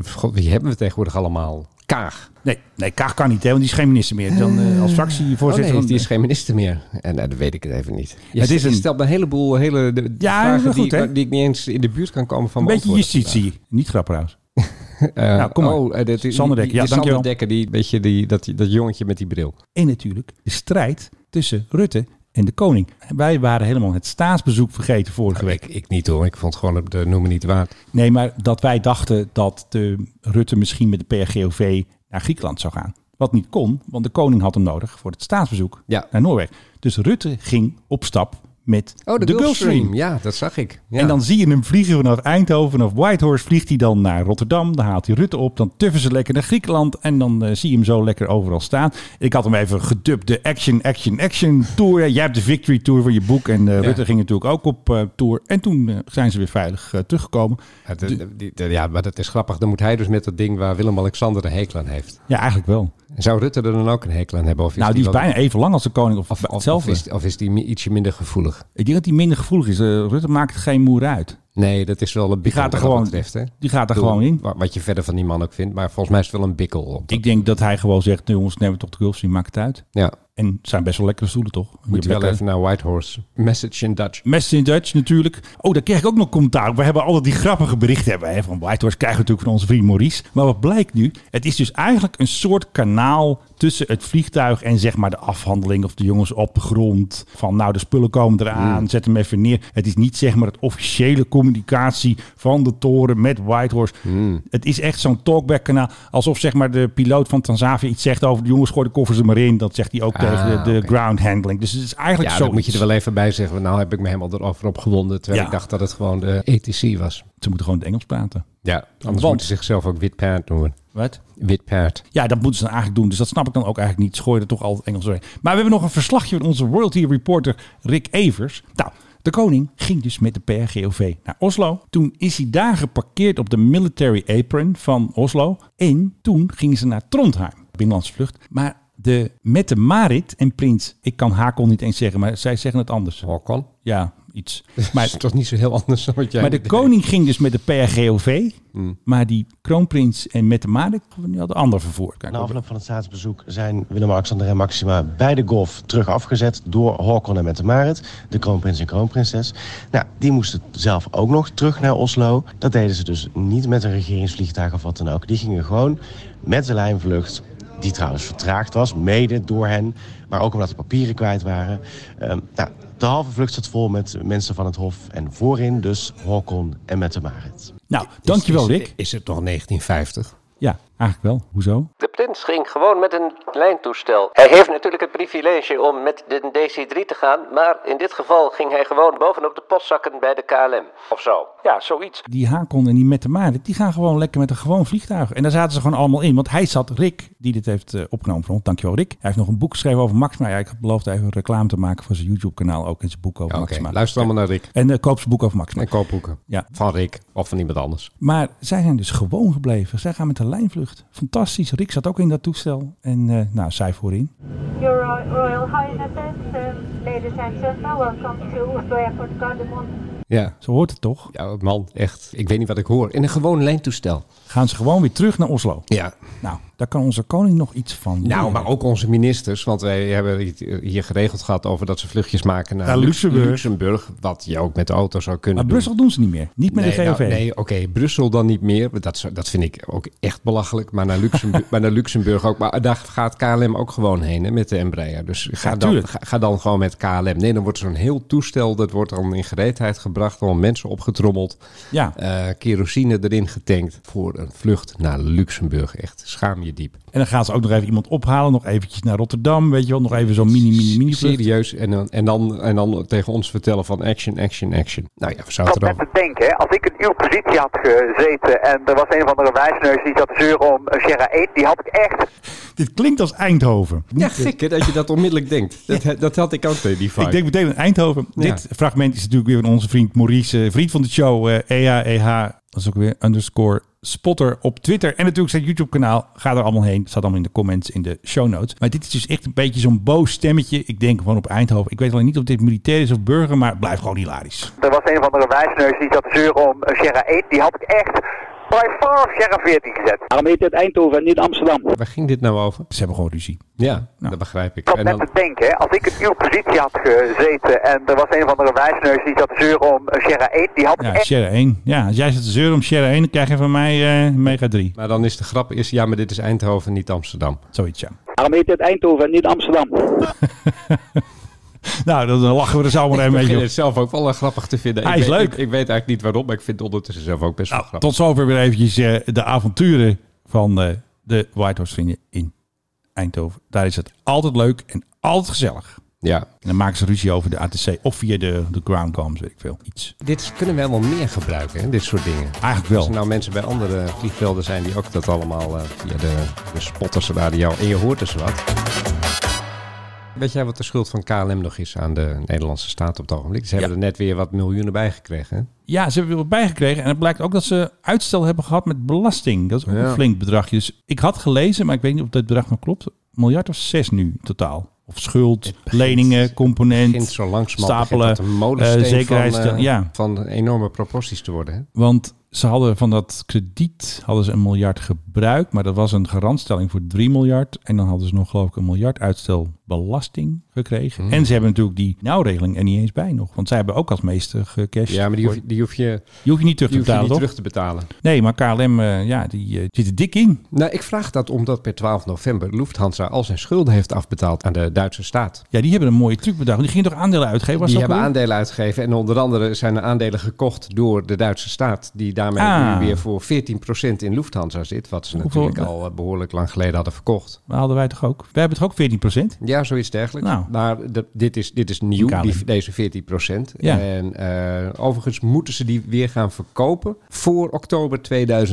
[SPEAKER 10] god, wie hebben we tegenwoordig allemaal? Kaag.
[SPEAKER 9] Nee, nee Kaag kan niet, hè, want die is geen minister meer. Dan eh, als
[SPEAKER 10] Oh
[SPEAKER 9] fractievoorzitter...
[SPEAKER 10] nee,
[SPEAKER 9] dan-
[SPEAKER 10] die is geen minister meer. En eh, dat weet ik het even niet. Je
[SPEAKER 9] Het is
[SPEAKER 10] stel-
[SPEAKER 9] een-
[SPEAKER 10] je stelt me een heleboel hele de- de
[SPEAKER 9] Ja,
[SPEAKER 10] vragen
[SPEAKER 9] goed,
[SPEAKER 10] die,
[SPEAKER 9] hè?
[SPEAKER 10] die ik niet eens in de buurt kan komen van
[SPEAKER 9] Een
[SPEAKER 10] mijn
[SPEAKER 9] beetje
[SPEAKER 10] antwoorden
[SPEAKER 9] justitie. Niet grap trouwens.
[SPEAKER 10] vandaag. Eh,
[SPEAKER 9] Nou, kom maar.
[SPEAKER 10] Oh, eh, dat,
[SPEAKER 9] Sander
[SPEAKER 10] die,
[SPEAKER 9] Dekker. Ja,
[SPEAKER 10] die
[SPEAKER 9] dankjewel.
[SPEAKER 10] Sander Dekker, die, weet je, die, dat, dat jongetje met die bril.
[SPEAKER 9] En natuurlijk de strijd tussen Rutte en de koning. Wij waren helemaal het staatsbezoek vergeten vorige week.
[SPEAKER 10] Ik, ik niet hoor, ik vond gewoon het de noemen niet waard.
[SPEAKER 9] Nee, maar dat wij dachten dat de Rutte misschien met de PRGOV naar Griekenland zou gaan. Wat niet kon, want de koning had hem nodig voor het staatsbezoek
[SPEAKER 10] Ja.
[SPEAKER 9] naar Noorwegen. Dus Rutte ging op stap met
[SPEAKER 10] Oh, de, Gulfstream. Ja, dat zag ik. Ja.
[SPEAKER 9] En dan zie je hem vliegen vanaf Eindhoven of Whitehorse. Vliegt hij dan naar Rotterdam. Dan haalt hij Rutte op. Dan tuffen ze lekker naar Griekenland. En dan eh, zie je hem zo lekker overal staan. Ik had hem even gedubt. De Action, Action, Action Tour. Ja, Jij hebt de Victory Tour van je boek. En eh, Rutte ging natuurlijk ook op eh, tour. En toen eh, zijn ze weer veilig eh, teruggekomen.
[SPEAKER 10] Ja, de- de- die- de- ja, maar dat is grappig. Dan moet hij dus met dat ding waar Willem-Alexander een hekel aan heeft.
[SPEAKER 9] Ja, eigenlijk wel.
[SPEAKER 10] En Zou Rutte er dan ook een hekel aan hebben? Of
[SPEAKER 9] nou, die is
[SPEAKER 10] wel-
[SPEAKER 9] bijna even lang als de koning. Of,
[SPEAKER 10] Of, of,
[SPEAKER 9] hetzelfde.
[SPEAKER 10] is, of is die mi- ietsje minder gevoelig?
[SPEAKER 9] Ik denk dat hij minder gevoelig is. Eh, Rutte maakt geen moer uit.
[SPEAKER 10] Nee, dat is wel een bikkel.
[SPEAKER 9] gaat er
[SPEAKER 10] wat dat
[SPEAKER 9] gewoon-
[SPEAKER 10] betreft, hè?
[SPEAKER 9] Die gaat er
[SPEAKER 10] Doe-
[SPEAKER 9] gewoon in.
[SPEAKER 10] wa- Wat je verder van die man ook vindt. Maar volgens mij is het wel een bikkel. Op dat-
[SPEAKER 9] Ik denk dat hij gewoon zegt, "Nee, jongens, neem we toch de Gulfstream, maakt het uit.
[SPEAKER 10] ja,
[SPEAKER 9] En het zijn best wel lekkere stoelen, toch? Je
[SPEAKER 10] moet
[SPEAKER 9] hebt
[SPEAKER 10] je wel
[SPEAKER 9] lekker-
[SPEAKER 10] even naar Whitehorse. Message in Dutch.
[SPEAKER 9] Message in Dutch natuurlijk. Oh, daar krijg ik ook nog commentaar op. We hebben altijd die grappige berichten hebben, hè, van White Horse. Krijgen we natuurlijk van onze vriend Maurice. Maar wat blijkt nu? Het is dus eigenlijk een soort kanaal tussen het vliegtuig en zeg maar de afhandeling of de jongens op de grond. Van nou, de spullen komen eraan,
[SPEAKER 10] Mm.
[SPEAKER 9] zet hem even neer. Het is niet zeg maar het officiële communicatie van de toren met Whitehorse.
[SPEAKER 10] Mm.
[SPEAKER 9] Het is echt zo'n talkback kanaal. Alsof zeg maar de piloot van Tanzania iets zegt over de jongens gooi de koffers er maar in. Dat zegt hij ook
[SPEAKER 10] Ah,
[SPEAKER 9] tegen de, de
[SPEAKER 10] oké.
[SPEAKER 9] ground handling. Dus het is eigenlijk
[SPEAKER 10] Ja,
[SPEAKER 9] zo.
[SPEAKER 10] dat moet je er wel even bij zeggen. Nou heb ik me helemaal erover opgewonden. Terwijl
[SPEAKER 9] Ja.
[SPEAKER 10] ik dacht dat het gewoon de ETC was.
[SPEAKER 9] Ze moeten gewoon het Engels praten.
[SPEAKER 10] Ja, anders
[SPEAKER 9] Want-
[SPEAKER 10] moeten ze zichzelf ook wit paard noemen.
[SPEAKER 9] Wat?
[SPEAKER 10] Wit paard.
[SPEAKER 9] Ja, dat moeten ze dan eigenlijk doen. Dus dat snap ik dan ook eigenlijk niet. Ze gooien er toch altijd Engels doorheen. Maar we hebben nog een verslagje van onze royalty reporter Rick Evers. Nou, de koning ging dus met de PRGOV naar Oslo. Toen is hij daar geparkeerd op de military apron van Oslo. En toen gingen ze naar Trondheim, binnenlandse vlucht. Maar de, met de Marit en Prins, ik kan Hakel niet eens zeggen, maar zij zeggen het anders.
[SPEAKER 10] Håkon.
[SPEAKER 9] Ja, iets.
[SPEAKER 10] Maar
[SPEAKER 9] Maar
[SPEAKER 10] het is toch niet zo heel anders dan wat jij...
[SPEAKER 9] maar de koning ging dus met de PRGOV.
[SPEAKER 10] Mm.
[SPEAKER 9] Maar die kroonprins en met de Marik die hadden ander vervoer. Kijk,
[SPEAKER 4] Na afloop van het staatsbezoek zijn Willem-Alexander en Maxima bij de golf terug afgezet door Håkon en Mette Marit, de kroonprins en kroonprinses. Nou, die moesten zelf ook nog terug naar Oslo. Dat deden ze dus niet met een regeringsvliegtuig of wat dan ook. Die gingen gewoon met de lijnvlucht, die trouwens vertraagd was, mede door hen, maar ook omdat de papieren kwijt waren. Ehm, nou, de halve vlucht zat vol met mensen van het Hof en voorin dus Håkon en Mette Marit.
[SPEAKER 9] nou, dankjewel
[SPEAKER 10] is,
[SPEAKER 9] Rick.
[SPEAKER 10] Is het nog 1950?
[SPEAKER 9] Ja, eigenlijk wel. Hoezo?
[SPEAKER 4] De prins ging gewoon met een lijntoestel. Hij heeft natuurlijk het privilege om met de DC-3 te gaan, maar in dit geval ging hij gewoon bovenop de postzakken bij de KLM. Of zo. Ja, zoiets.
[SPEAKER 9] Die Hakon en die met de Marit, die gaan gewoon lekker met een gewoon vliegtuig. En daar zaten ze gewoon allemaal in. Want hij zat, Rick, die dit heeft eh, opgenomen voor ons. Dankjewel Rick. Hij heeft nog een boek geschreven over Maxima. Ja, ik had beloofd even reclame te maken voor zijn YouTube kanaal. Ook in zijn boek over
[SPEAKER 10] Ja, Oké,
[SPEAKER 9] Maxima.
[SPEAKER 10] luister allemaal naar Rick.
[SPEAKER 9] En eh, koop zijn boek over Maxima.
[SPEAKER 10] En koopboeken.
[SPEAKER 9] Ja.
[SPEAKER 10] Van Rick of van iemand anders.
[SPEAKER 9] Maar zij zijn dus gewoon gebleven. Zij gaan met de lijnvlucht. Fantastisch. Rick zat ook in dat toestel. En eh, nou, zij voorin.
[SPEAKER 3] Your Royal Highnesses, ladies and gentlemen, welcome to Oslo Airport Gardermoen.
[SPEAKER 10] Ja.
[SPEAKER 9] Ze hoort het toch?
[SPEAKER 10] Ja, man, echt. Ik weet niet wat ik hoor. In een gewoon lijntoestel.
[SPEAKER 9] gaan ze gewoon weer terug naar Oslo.
[SPEAKER 10] Ja.
[SPEAKER 9] Nou, daar kan onze koning nog iets van.
[SPEAKER 10] Nou,
[SPEAKER 9] leren.
[SPEAKER 10] maar ook onze ministers. Want wij hebben het hier geregeld gehad over dat ze vluchtjes maken naar
[SPEAKER 9] Naar
[SPEAKER 10] Lux-
[SPEAKER 9] Luxemburg.
[SPEAKER 10] Luxemburg, Wat je ook met de auto zou kunnen
[SPEAKER 9] Maar
[SPEAKER 10] doen.
[SPEAKER 9] Brussel doen ze niet meer. Niet met
[SPEAKER 10] nee,
[SPEAKER 9] de GOV.
[SPEAKER 10] nou, nee, oké, Brussel dan niet meer. want Dat, zou- dat vind ik ook echt belachelijk. Maar naar Luxemburg, *laughs* maar naar Luxemburg ook. Maar eh, daar gaat KLM ook gewoon heen hè, met de Embraer. Dus ga,
[SPEAKER 9] Ja,
[SPEAKER 10] dan,
[SPEAKER 9] tuurlijk.
[SPEAKER 10] ga, ga dan gewoon met KLM. Nee, dan wordt zo'n heel toestel, dat wordt dan in gereedheid gebracht. Dan mensen opgetrommeld.
[SPEAKER 9] Ja.
[SPEAKER 10] eh, kerosine erin getankt voor een vlucht naar Luxemburg. Echt schaam je diep.
[SPEAKER 9] En dan gaan ze ook nog even iemand ophalen. Nog eventjes naar Rotterdam. Weet je wel, nog even zo'n mini, mini, mini vlucht.
[SPEAKER 10] Serieus. En dan, en, dan, en dan tegen ons vertellen van action, action, action. Nou ja, we
[SPEAKER 6] Ik
[SPEAKER 10] zouden
[SPEAKER 6] zat
[SPEAKER 10] er
[SPEAKER 6] net te denken, hè, als ik in uw positie had gezeten en er was een of andere wijsneus die zat te zeuren om een Sierra 1, die had ik echt...
[SPEAKER 9] Dit klinkt als Eindhoven.
[SPEAKER 10] Ja, gek hè, dat je dat onmiddellijk denkt. Dat, dat had ik ook, eh, die vibe.
[SPEAKER 9] Ik denk meteen aan Eindhoven.
[SPEAKER 10] Ja.
[SPEAKER 9] Dit fragment is natuurlijk weer van onze vriend Maurice, eh, vriend van de show, eh, EAEH. Dat is ook weer underscore spotter op Twitter. En natuurlijk zijn YouTube-kanaal. Ga er allemaal heen. Staat allemaal in de comments in de show notes. Maar dit is dus echt een beetje zo'n boos stemmetje. Ik denk gewoon op Eindhoven. Ik weet alleen niet of dit militair is of burger, maar het blijft gewoon hilarisch.
[SPEAKER 6] Er was een of andere wijsneus die zat te zeuren om een Sierra 1, die had ik echt by far op Sierra 14 gezet. Waarom heet het Eindhoven en niet Amsterdam?
[SPEAKER 10] Waar ging dit nou over?
[SPEAKER 9] Ze hebben gewoon ruzie.
[SPEAKER 10] Ja, dat begrijp ik.
[SPEAKER 6] Ik zat
[SPEAKER 10] En
[SPEAKER 6] net
[SPEAKER 10] dan,
[SPEAKER 6] te denken, hè, als ik in uw positie had gezeten en er was een of andere wijsneus die zat te zeuren om een Sierra 1, die had ik
[SPEAKER 9] Ja,
[SPEAKER 10] Eh.
[SPEAKER 6] echt...
[SPEAKER 9] Sherry 1. Ja, als jij zit te zeuren om Sherry 1, dan krijg je van mij eh Mega 3.
[SPEAKER 10] maar dan is de grap, is, ja, maar dit is Eindhoven, niet Amsterdam.
[SPEAKER 9] Zoiets, ja.
[SPEAKER 6] Waarom heet het Eindhoven en niet Amsterdam?
[SPEAKER 9] Nou, dan lachen we er zo maar een
[SPEAKER 10] Ik
[SPEAKER 9] beetje
[SPEAKER 10] begin
[SPEAKER 9] op.
[SPEAKER 10] het zelf ook wel eh, grappig te vinden.
[SPEAKER 9] Hij
[SPEAKER 10] ik
[SPEAKER 9] is
[SPEAKER 10] weet,
[SPEAKER 9] leuk.
[SPEAKER 10] Ik, ik weet eigenlijk niet waarom, maar ik vind het ondertussen zelf ook best wel grappig.
[SPEAKER 9] Nou, Tot zover weer eventjes eh, de avonturen van eh, de White Horse Vrienden in Eindhoven. Daar is het altijd leuk en altijd gezellig.
[SPEAKER 10] Ja.
[SPEAKER 9] En dan maken ze ruzie over de ATC of via de, de groundcoms, weet ik veel. Iets.
[SPEAKER 10] Dit kunnen we helemaal meer gebruiken, hè, dit soort dingen.
[SPEAKER 9] Eigenlijk
[SPEAKER 10] Als er
[SPEAKER 9] wel.
[SPEAKER 10] nou mensen bij andere vliegvelden zijn die ook dat allemaal eh, via de, de spotters radio en je hoort dus wat. Weet jij wat de schuld van KLM nog is aan de Nederlandse staat op het ogenblik? Ze hebben er net weer wat miljoenen bij gekregen. hè?
[SPEAKER 9] Ja, ze hebben er wat bijgekregen. En het blijkt ook dat ze uitstel hebben gehad met belasting. Dat is ook
[SPEAKER 10] Ja.
[SPEAKER 9] een flink bedragje. Dus ik had gelezen, maar ik weet niet of dat bedrag nog klopt. Een miljard of zes nu in totaal. Of schuld, leningen, component.
[SPEAKER 10] begint zo langzamerhand
[SPEAKER 9] stapelen,
[SPEAKER 10] begint dat een molensteen
[SPEAKER 9] eh, zekerheidstel-
[SPEAKER 10] van, eh,
[SPEAKER 9] ja.
[SPEAKER 10] van enorme proporties te worden. Hè?
[SPEAKER 9] Want ze hadden van dat krediet hadden ze een miljard gebruikt, maar dat was een garantstelling voor 3 miljard. En dan hadden ze nog geloof ik een miljard uitstel belasting gekregen.
[SPEAKER 10] Hmm.
[SPEAKER 9] En ze hebben natuurlijk die nauwregeling er niet eens bij nog. Want zij hebben ook als meester gecashed.
[SPEAKER 10] Ja, maar die hoef, je- die hoef je,
[SPEAKER 9] Die hoef je niet terug
[SPEAKER 10] die
[SPEAKER 9] te
[SPEAKER 10] hoef je
[SPEAKER 9] betalen,
[SPEAKER 10] niet
[SPEAKER 9] toch?
[SPEAKER 10] terug te betalen.
[SPEAKER 9] Nee, maar KLM eh, ja, die eh, zit er dik in.
[SPEAKER 10] Nou, ik vraag dat omdat per 12 november Lufthansa al zijn schulden heeft afbetaald aan de Duitse staat.
[SPEAKER 9] Ja, die hebben een mooie truc bedacht. Die gingen toch aandelen uitgeven? Was
[SPEAKER 10] die
[SPEAKER 9] dat
[SPEAKER 10] hebben
[SPEAKER 9] ook weer?
[SPEAKER 10] aandelen uitgegeven. En onder andere zijn er aandelen gekocht door de Duitse staat. Die daarmee
[SPEAKER 9] Ah.
[SPEAKER 10] nu weer voor 14% in Lufthansa zit. Wat ze
[SPEAKER 9] Hoeveel-
[SPEAKER 10] natuurlijk al eh, behoorlijk lang geleden hadden verkocht.
[SPEAKER 9] Maar hadden wij toch ook? Wij hebben toch ook 14
[SPEAKER 10] Ja, zoiets dergelijks.
[SPEAKER 9] Nou.
[SPEAKER 10] Maar de- dit, is, dit is nieuw,
[SPEAKER 9] KLM.
[SPEAKER 10] die, deze 14%.
[SPEAKER 9] Ja.
[SPEAKER 10] En eh, overigens moeten ze die weer gaan verkopen voor oktober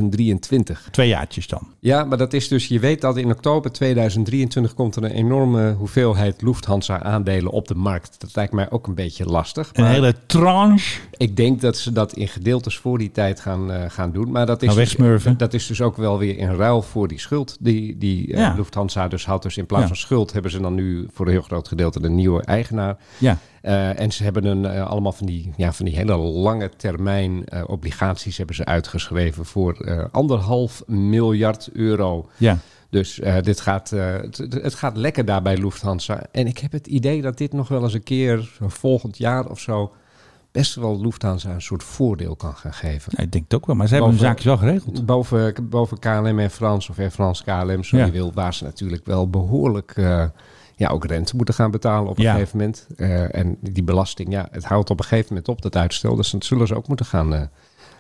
[SPEAKER 10] 2023.
[SPEAKER 9] Twee jaartjes dan.
[SPEAKER 10] Ja, maar dat is dus, je weet dat in oktober 2023 komt er een enorme hoeveelheid Lufthansa aandelen op de markt. Dat lijkt mij ook een beetje lastig.
[SPEAKER 9] Een
[SPEAKER 10] maar-
[SPEAKER 9] hele tranche.
[SPEAKER 10] ik denk dat ze dat in gedeeltes voor die tijd gaan, eh, gaan doen. Maar dat is,
[SPEAKER 9] Gaan Nou, wegsmurven.
[SPEAKER 10] dus, dat is dus ook wel weer in ruil voor die schuld. Die, die eh,
[SPEAKER 9] Ja.
[SPEAKER 10] Lufthansa dus had. Dus in plaats
[SPEAKER 9] Ja.
[SPEAKER 10] van schuld hebben ze dan nu voor een heel groot gedeelte een nieuwe eigenaar.
[SPEAKER 9] Ja.
[SPEAKER 10] Eh, en ze hebben een, eh, allemaal van die, ja, van die hele lange termijn eh, obligaties hebben ze uitgeschreven voor eh, anderhalf miljard euro.
[SPEAKER 9] Ja.
[SPEAKER 10] Dus eh, dit gaat, eh, het, het gaat lekker daar bij Lufthansa. En ik heb het idee dat dit nog wel eens een keer zo volgend jaar of zo best wel Lufthansa een soort voordeel kan gaan geven.
[SPEAKER 9] Nou, ik denk het ook wel. Maar ze hebben hun
[SPEAKER 10] Boven-
[SPEAKER 9] zaakjes wel geregeld.
[SPEAKER 10] Boven, boven KLM en Frans of Air France KLM, zo
[SPEAKER 9] Ja.
[SPEAKER 10] je wil, waar ze natuurlijk wel behoorlijk eh, ja, ook rente moeten gaan betalen op een
[SPEAKER 9] Ja.
[SPEAKER 10] gegeven moment. Eh, en die belasting, ja, het houdt op een gegeven moment op, dat uitstel. Dus dat zullen ze ook moeten gaan, eh,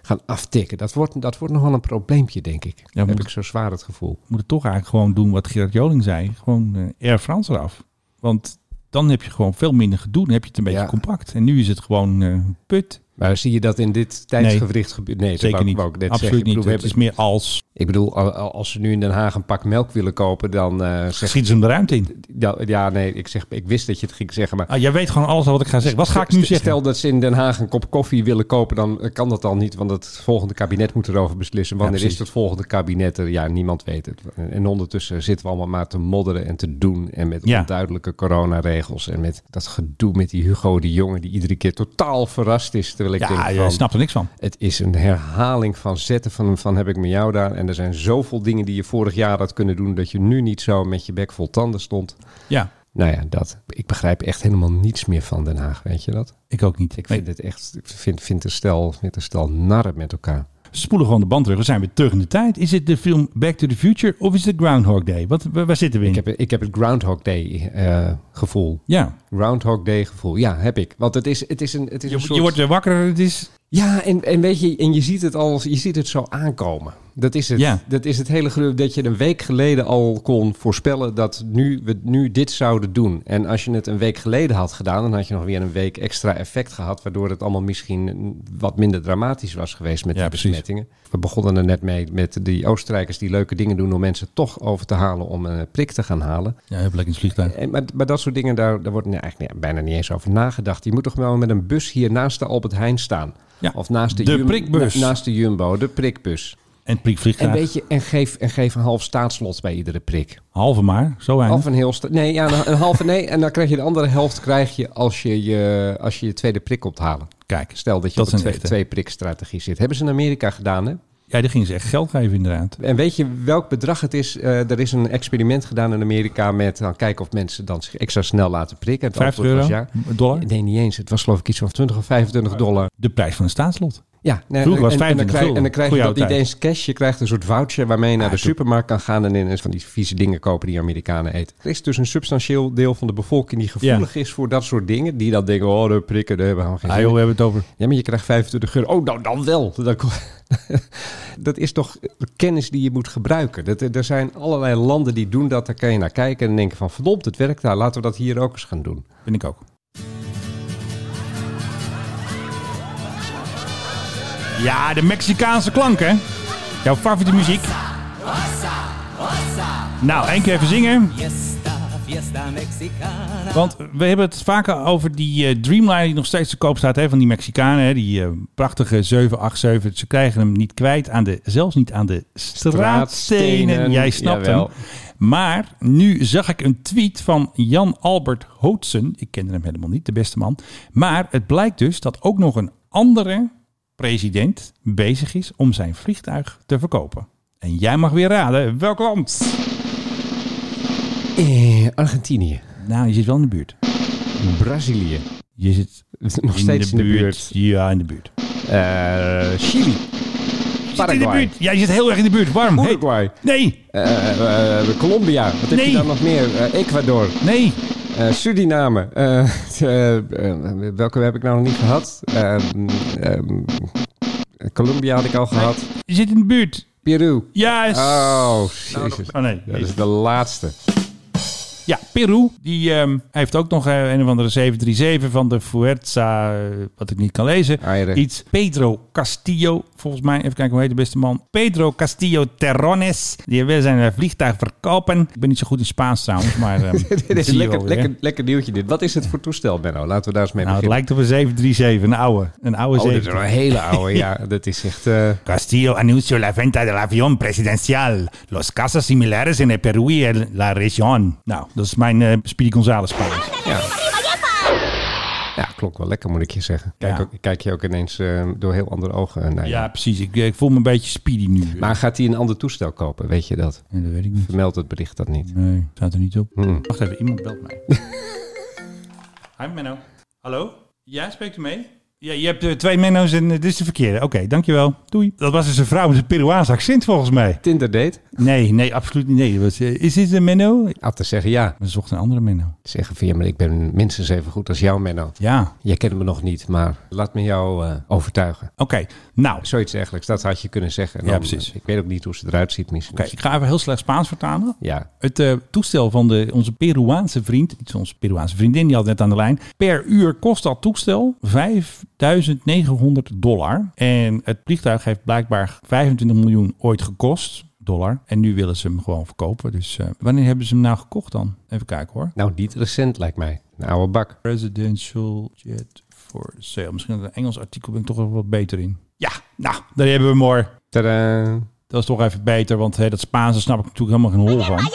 [SPEAKER 10] gaan aftikken. Dat wordt, dat wordt nog wel een probleempje, denk ik.
[SPEAKER 9] moet
[SPEAKER 10] heb
[SPEAKER 9] het-
[SPEAKER 10] ik zo zwaar het gevoel.
[SPEAKER 9] moeten toch eigenlijk gewoon doen wat Gerard Joling zei. Gewoon eh, Air France eraf. Want dan heb je gewoon veel minder gedoe. Dan heb je het een beetje
[SPEAKER 10] Ja.
[SPEAKER 9] compact. En nu is het gewoon eh, put.
[SPEAKER 10] Maar zie je dat in dit tijdsgewricht gebeuren? Nee, dat
[SPEAKER 9] Zeker
[SPEAKER 10] wou ik
[SPEAKER 9] niet.
[SPEAKER 10] ook net zeggen.
[SPEAKER 9] Absoluut
[SPEAKER 10] Ik
[SPEAKER 9] niet.
[SPEAKER 10] bedoel,
[SPEAKER 9] Het
[SPEAKER 10] we
[SPEAKER 9] is
[SPEAKER 10] hebben-
[SPEAKER 9] meer als
[SPEAKER 10] Ik bedoel, al- al- als ze nu in Den Haag een pak melk willen kopen, dan eh, zeg
[SPEAKER 9] schieten ze hem de ruimte in.
[SPEAKER 10] ja, ja, nee, ik, zeg, ik wist dat je het ging zeggen, maar...
[SPEAKER 9] Ah, jij weet gewoon alles wat ik ga zeggen. Wat ga ik nu
[SPEAKER 10] Stel
[SPEAKER 9] zeggen?
[SPEAKER 10] Stel dat ze in Den Haag een kop koffie willen kopen, dan kan dat al niet, want het volgende kabinet moet erover beslissen. Wanneer
[SPEAKER 9] precies.
[SPEAKER 10] is het volgende kabinet er? Ja, niemand weet het. En ondertussen zitten we allemaal maar te modderen en te doen en met
[SPEAKER 9] Ja.
[SPEAKER 10] onduidelijke coronaregels en met dat gedoe met die Hugo de Jonge die iedere keer totaal verrast is. Terwijl ik
[SPEAKER 9] ja,
[SPEAKER 10] denk
[SPEAKER 9] je
[SPEAKER 10] van,
[SPEAKER 9] snapt er niks van.
[SPEAKER 10] het is een herhaling van zetten van, van heb ik met jou daar. En er zijn zoveel dingen die je vorig jaar had kunnen doen... dat je nu niet zo met je bek vol tanden stond.
[SPEAKER 9] Ja,
[SPEAKER 10] Nou ja, dat. Ik begrijp echt helemaal niets meer van Den Haag, weet je dat?
[SPEAKER 9] ik ook niet.
[SPEAKER 10] Ik
[SPEAKER 9] Nee,
[SPEAKER 10] vind het echt... Ik vind, vind, een, stel, vind een stel narren met elkaar.
[SPEAKER 9] we spoelen gewoon de band terug. We zijn weer terug in de tijd. Is het de film Back to the Future of is het Groundhog Day? Wat, waar, waar zitten we in?
[SPEAKER 10] Ik heb, ik heb het Groundhog Day eh, gevoel.
[SPEAKER 9] ja,
[SPEAKER 10] Groundhog Day gevoel. Ja, heb ik. Want het is, het is een, het is
[SPEAKER 9] je,
[SPEAKER 10] een
[SPEAKER 9] je
[SPEAKER 10] soort...
[SPEAKER 9] wordt weer wakker. Het is,
[SPEAKER 10] Ja, en, en weet je, en je ziet het al, je ziet het zo aankomen. Dat is het.
[SPEAKER 9] Ja.
[SPEAKER 10] Dat is het hele geluk dat je een week geleden al kon voorspellen dat nu we nu dit zouden doen. En als je het een week geleden had gedaan, dan had je nog weer een week extra effect gehad, waardoor het allemaal misschien wat minder dramatisch was geweest met
[SPEAKER 9] Ja,
[SPEAKER 10] die
[SPEAKER 9] precies.
[SPEAKER 10] besmettingen. We begonnen er net mee met die Oostenrijkers die leuke dingen doen om mensen toch over te halen om een prik te gaan halen.
[SPEAKER 9] Ja, heel lekker in het vliegtuig.
[SPEAKER 10] En, maar, maar dat soort dingen, daar, daar wordt nou eigenlijk bijna niet eens over nagedacht. Je moet toch wel met een bus hier naast de Albert Heijn staan.
[SPEAKER 9] Ja,
[SPEAKER 10] Of naast de,
[SPEAKER 9] de
[SPEAKER 10] Jum-
[SPEAKER 9] prikbus.
[SPEAKER 10] na- naast de Jumbo, de prikbus.
[SPEAKER 9] En het prikvliegtuig.
[SPEAKER 10] En, weet je, en, geef, en geef een half staatslot bij iedere prik.
[SPEAKER 9] Halve maar, zo weinig.
[SPEAKER 10] Of een heel... sta- Nee, ja, een- een halve nee. En dan krijg je de andere helft krijg je als je je, als je, je tweede prik komt halen.
[SPEAKER 9] Kijk,
[SPEAKER 10] Stel dat je
[SPEAKER 9] dat
[SPEAKER 10] op een
[SPEAKER 9] is een
[SPEAKER 10] twee,
[SPEAKER 9] echte.
[SPEAKER 10] twee prikstrategie zit. Hebben ze in Amerika gedaan, hè?
[SPEAKER 9] Ja, die gingen ze echt geld geven inderdaad.
[SPEAKER 10] En weet je welk bedrag het is? Eh, er is een experiment gedaan in Amerika met nou, kijken of mensen dan zich extra snel laten prikken. Het
[SPEAKER 9] 50
[SPEAKER 10] antwoord
[SPEAKER 9] euro,
[SPEAKER 10] was ja.
[SPEAKER 9] dollar.
[SPEAKER 10] Nee, niet eens. Het was geloof ik iets van 20 of 25 dollar.
[SPEAKER 9] De prijs van een staatslot.
[SPEAKER 10] Ja, nee,
[SPEAKER 9] Vroeger was
[SPEAKER 10] en, en dan
[SPEAKER 9] 25
[SPEAKER 10] krijg, en dan krijg je
[SPEAKER 9] Goeie
[SPEAKER 10] dat niet
[SPEAKER 9] oude
[SPEAKER 10] eens cash. Je krijgt een soort voucher waarmee je naar de
[SPEAKER 9] doe-
[SPEAKER 10] supermarkt kan gaan en ineens van die vieze dingen kopen die Amerikanen eten. Er is dus een substantieel deel van de bevolking die gevoelig is voor dat soort dingen. Die dan denken, oh, de prikken, daar hebben we gewoon geen
[SPEAKER 9] Ah
[SPEAKER 10] zin
[SPEAKER 9] joh,
[SPEAKER 10] in.
[SPEAKER 9] we hebben het over.
[SPEAKER 10] Ja, maar je krijgt 25 euro. Oh, nou dan wel. *laughs* Dan kom- Dat is toch kennis die je moet gebruiken. Dat, er zijn allerlei landen die doen dat. Daar kan je naar kijken en denken van verdomd, het werkt daar. Laten we dat hier ook eens gaan doen.
[SPEAKER 9] Vind ik ook. Ja, de Mexicaanse klank, hè? Jouw favoriete muziek. Nou, één keer even zingen. Want we hebben het vaker over die eh, Dreamliner die nog steeds te koop staat hè, van die Mexicanen. Hè, die eh, prachtige 787. Ze krijgen hem niet kwijt, aan de, zelfs niet aan de straatstenen.
[SPEAKER 10] Straatstenen,
[SPEAKER 9] Jij snapt
[SPEAKER 10] jawel.
[SPEAKER 9] hem. Maar nu zag ik een tweet van Jan Albert Hootsen. Ik kende hem helemaal niet, de beste man. Maar het blijkt dus dat ook nog een andere president bezig is om zijn vliegtuig te verkopen. En jij mag weer raden welk land.
[SPEAKER 10] Eh, Argentinië,
[SPEAKER 9] Nou, je zit wel in de buurt.
[SPEAKER 10] Brazilië, *laughs*
[SPEAKER 9] Je zit
[SPEAKER 10] nog steeds in de buurt.
[SPEAKER 9] Ja, in de buurt.
[SPEAKER 10] Eh, Chili,
[SPEAKER 9] Zit in de
[SPEAKER 10] Paraguay.
[SPEAKER 9] buurt. Ja, je zit heel erg in de buurt. Warm. Hey.
[SPEAKER 10] Uruguay,
[SPEAKER 9] Nee,
[SPEAKER 10] eh, eh, Colombia. Wat heb
[SPEAKER 9] Nee.
[SPEAKER 10] je daar nog meer? Eh, Ecuador,
[SPEAKER 9] nee.
[SPEAKER 10] eh, Suriname. Eh, *laughs* eh, eh, welke heb ik nou nog niet gehad? Ehm, ehm, Colombia had ik al gehad.
[SPEAKER 9] Je zit in de buurt.
[SPEAKER 10] Peru.
[SPEAKER 9] Yes.
[SPEAKER 10] Oh, jezus.
[SPEAKER 9] Oh nee.
[SPEAKER 10] Dat is de
[SPEAKER 9] *laughs*
[SPEAKER 10] laatste.
[SPEAKER 9] Ja, Peru. Die ehm, heeft ook nog eh, een of andere 737 van de Fuerza, eh, wat ik niet kan lezen.
[SPEAKER 10] Aire.
[SPEAKER 9] Iets. Pedro Castillo, volgens mij. Even kijken hoe heet de beste man. Pedro Castillo Terrones. Die wil zijn eh, vliegtuig verkopen. Ik ben niet zo goed in Spaans trouwens,
[SPEAKER 10] *laughs*
[SPEAKER 9] maar... ehm,
[SPEAKER 10] Dit
[SPEAKER 9] dat
[SPEAKER 10] is
[SPEAKER 9] zie
[SPEAKER 10] een
[SPEAKER 9] je
[SPEAKER 10] lekker,
[SPEAKER 9] wel weer.
[SPEAKER 10] lekker, lekker nieuwtje dit. Wat is het voor toestel, Benno? Laten we daar eens mee
[SPEAKER 9] Nou, het
[SPEAKER 10] beginnen.
[SPEAKER 9] lijkt op een 737, een oude. Een oude
[SPEAKER 10] oh, dit is
[SPEAKER 9] 737.
[SPEAKER 10] een hele
[SPEAKER 9] *laughs*
[SPEAKER 10] oude. ja, dat is echt... eh,
[SPEAKER 9] Castillo anunció la venta del avión presidencial. Los casos similares en el Perú y el- la región. Nou, dat is mijn eh Speedy González Spaans.
[SPEAKER 10] ja, klopt wel lekker, moet ik je zeggen. Kijk,
[SPEAKER 9] Ja.
[SPEAKER 10] ook, kijk je ook ineens eh, door heel andere ogen eh, naar je.
[SPEAKER 9] Ja, precies. Ik, ik voel me een beetje Speedy nu.
[SPEAKER 10] Maar gaat hij een ander toestel kopen? Weet je dat?
[SPEAKER 9] Nee, dat weet ik niet.
[SPEAKER 10] Vermeld het bericht dat niet.
[SPEAKER 9] Nee, staat er niet op.
[SPEAKER 10] Hmm.
[SPEAKER 9] Wacht even, iemand belt
[SPEAKER 10] *laughs*
[SPEAKER 9] mij. Hi Menno. Hallo? Ja, spreekt u mee? Ja, je hebt eh, twee Menno's en eh, dit is de verkeerde. Oké, dankjewel. Doei. Dat was dus een vrouw met een Peruaans accent volgens mij.
[SPEAKER 10] Tinder date?
[SPEAKER 9] Nee, nee, absoluut niet. Nee, dat was, eh, is dit een Menno?
[SPEAKER 10] Af te zeggen ja.
[SPEAKER 9] We zochten een andere Menno.
[SPEAKER 10] Zeggen van ja, maar ik ben minstens even goed als jou, Menno.
[SPEAKER 9] Ja,
[SPEAKER 10] Jij kent me nog niet, maar laat me jou eh, overtuigen.
[SPEAKER 9] oké. Nou, oké.
[SPEAKER 10] Zoiets eigenlijk, dat had je kunnen zeggen. En
[SPEAKER 9] Ja,
[SPEAKER 10] dan,
[SPEAKER 9] precies.
[SPEAKER 10] eh, Ik weet ook niet hoe ze eruit ziet misschien.
[SPEAKER 9] ik ga even heel slecht Spaans vertalen.
[SPEAKER 10] Ja,
[SPEAKER 9] Het eh, toestel van de, onze Peruaanse vriend, iets onze Peruaanse vriendin, die had net aan de lijn. Per uur kost dat toestel 5.900 dollar. En het vliegtuig heeft blijkbaar 25 miljoen ooit gekost. Dollar. En nu willen ze hem gewoon verkopen. Dus eh, wanneer hebben ze hem nou gekocht dan? Even kijken hoor.
[SPEAKER 10] nou niet recent lijkt mij. Een oude bak.
[SPEAKER 9] Presidential jet for sale. Misschien in een Engels artikel ben ik toch wel wat beter in. Ja, nou, daar hebben we hem hoor.
[SPEAKER 10] Tadaa.
[SPEAKER 9] Dat is toch even beter, want hè, dat Spaanse snap ik natuurlijk helemaal geen hol van.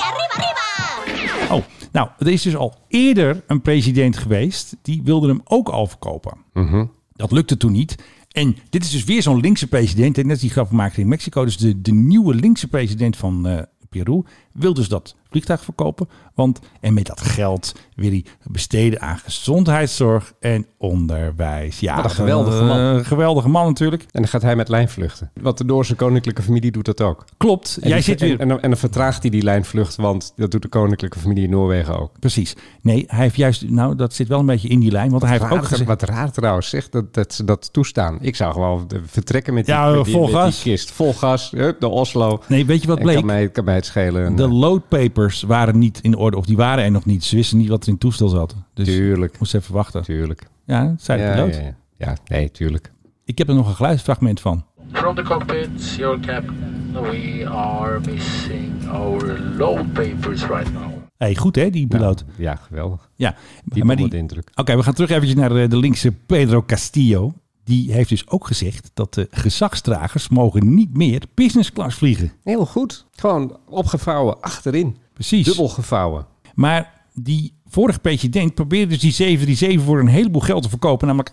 [SPEAKER 9] Oh, nou, er is dus al eerder een president geweest die wilde hem ook al verkopen.
[SPEAKER 10] Mhm.
[SPEAKER 9] Dat lukte toen niet. En dit is dus weer zo'n linkse president. En net als die grappenmaker in Mexico. Dus de, de nieuwe linkse president van eh, Peru wil dus dat vliegtuig verkopen. Want, en met dat geld wil hij besteden aan gezondheidszorg en onderwijs. Ja,
[SPEAKER 10] Wat een geweldige
[SPEAKER 9] eh,
[SPEAKER 10] man.
[SPEAKER 9] geweldige man natuurlijk.
[SPEAKER 10] En dan gaat hij met lijnvluchten. Want de Noorse koninklijke familie doet dat ook.
[SPEAKER 9] Klopt.
[SPEAKER 10] En
[SPEAKER 9] Jij
[SPEAKER 10] die-
[SPEAKER 9] zit
[SPEAKER 10] en-
[SPEAKER 9] weer-
[SPEAKER 10] En, dan- en dan vertraagt hij die lijnvlucht, want dat doet de koninklijke familie in Noorwegen ook.
[SPEAKER 9] Precies. Nee, hij heeft juist, nou dat zit wel een beetje in die lijn, want hij heeft ook gezegd...
[SPEAKER 10] Wat raar trouwens, zeg dat, dat ze dat toestaan. Ik zou gewoon eh, vertrekken met die,
[SPEAKER 9] Ja,
[SPEAKER 10] met die,
[SPEAKER 9] vol
[SPEAKER 10] met die
[SPEAKER 9] gas.
[SPEAKER 10] kist. Vol gas, hup, naar Oslo.
[SPEAKER 9] Nee, weet je wat
[SPEAKER 10] En
[SPEAKER 9] bleek?
[SPEAKER 10] Kan mij, kan mij het schelen. En,
[SPEAKER 9] De loadpapers waren niet in orde, of die waren er nog niet. Ze wisten niet wat er in het toestel zat. Dus
[SPEAKER 10] Tuurlijk.
[SPEAKER 9] moest even wachten.
[SPEAKER 10] Tuurlijk.
[SPEAKER 9] Ja, dat zei de
[SPEAKER 10] Ja,
[SPEAKER 9] piloot.
[SPEAKER 10] ja, ja. Ja, nee, tuurlijk.
[SPEAKER 9] Ik heb er nog een geluidsfragment van.
[SPEAKER 1] From the cockpit, your captain, we are missing our load papers right now.
[SPEAKER 9] hey, goed hè, die piloot.
[SPEAKER 10] Ja, geweldig.
[SPEAKER 9] Ja,
[SPEAKER 10] Die
[SPEAKER 9] maar
[SPEAKER 10] onder
[SPEAKER 9] die...
[SPEAKER 10] de indruk.
[SPEAKER 9] Oké, we gaan terug eventjes naar eh, de linkse Pedro Castillo. Die heeft dus ook gezegd dat de gezagsdragers mogen niet meer business class vliegen.
[SPEAKER 10] Heel goed. Gewoon opgevouwen achterin.
[SPEAKER 9] Precies.
[SPEAKER 10] Dubbel gevouwen.
[SPEAKER 9] Maar die vorige president probeerde dus die 737 voor een heleboel geld te verkopen, namelijk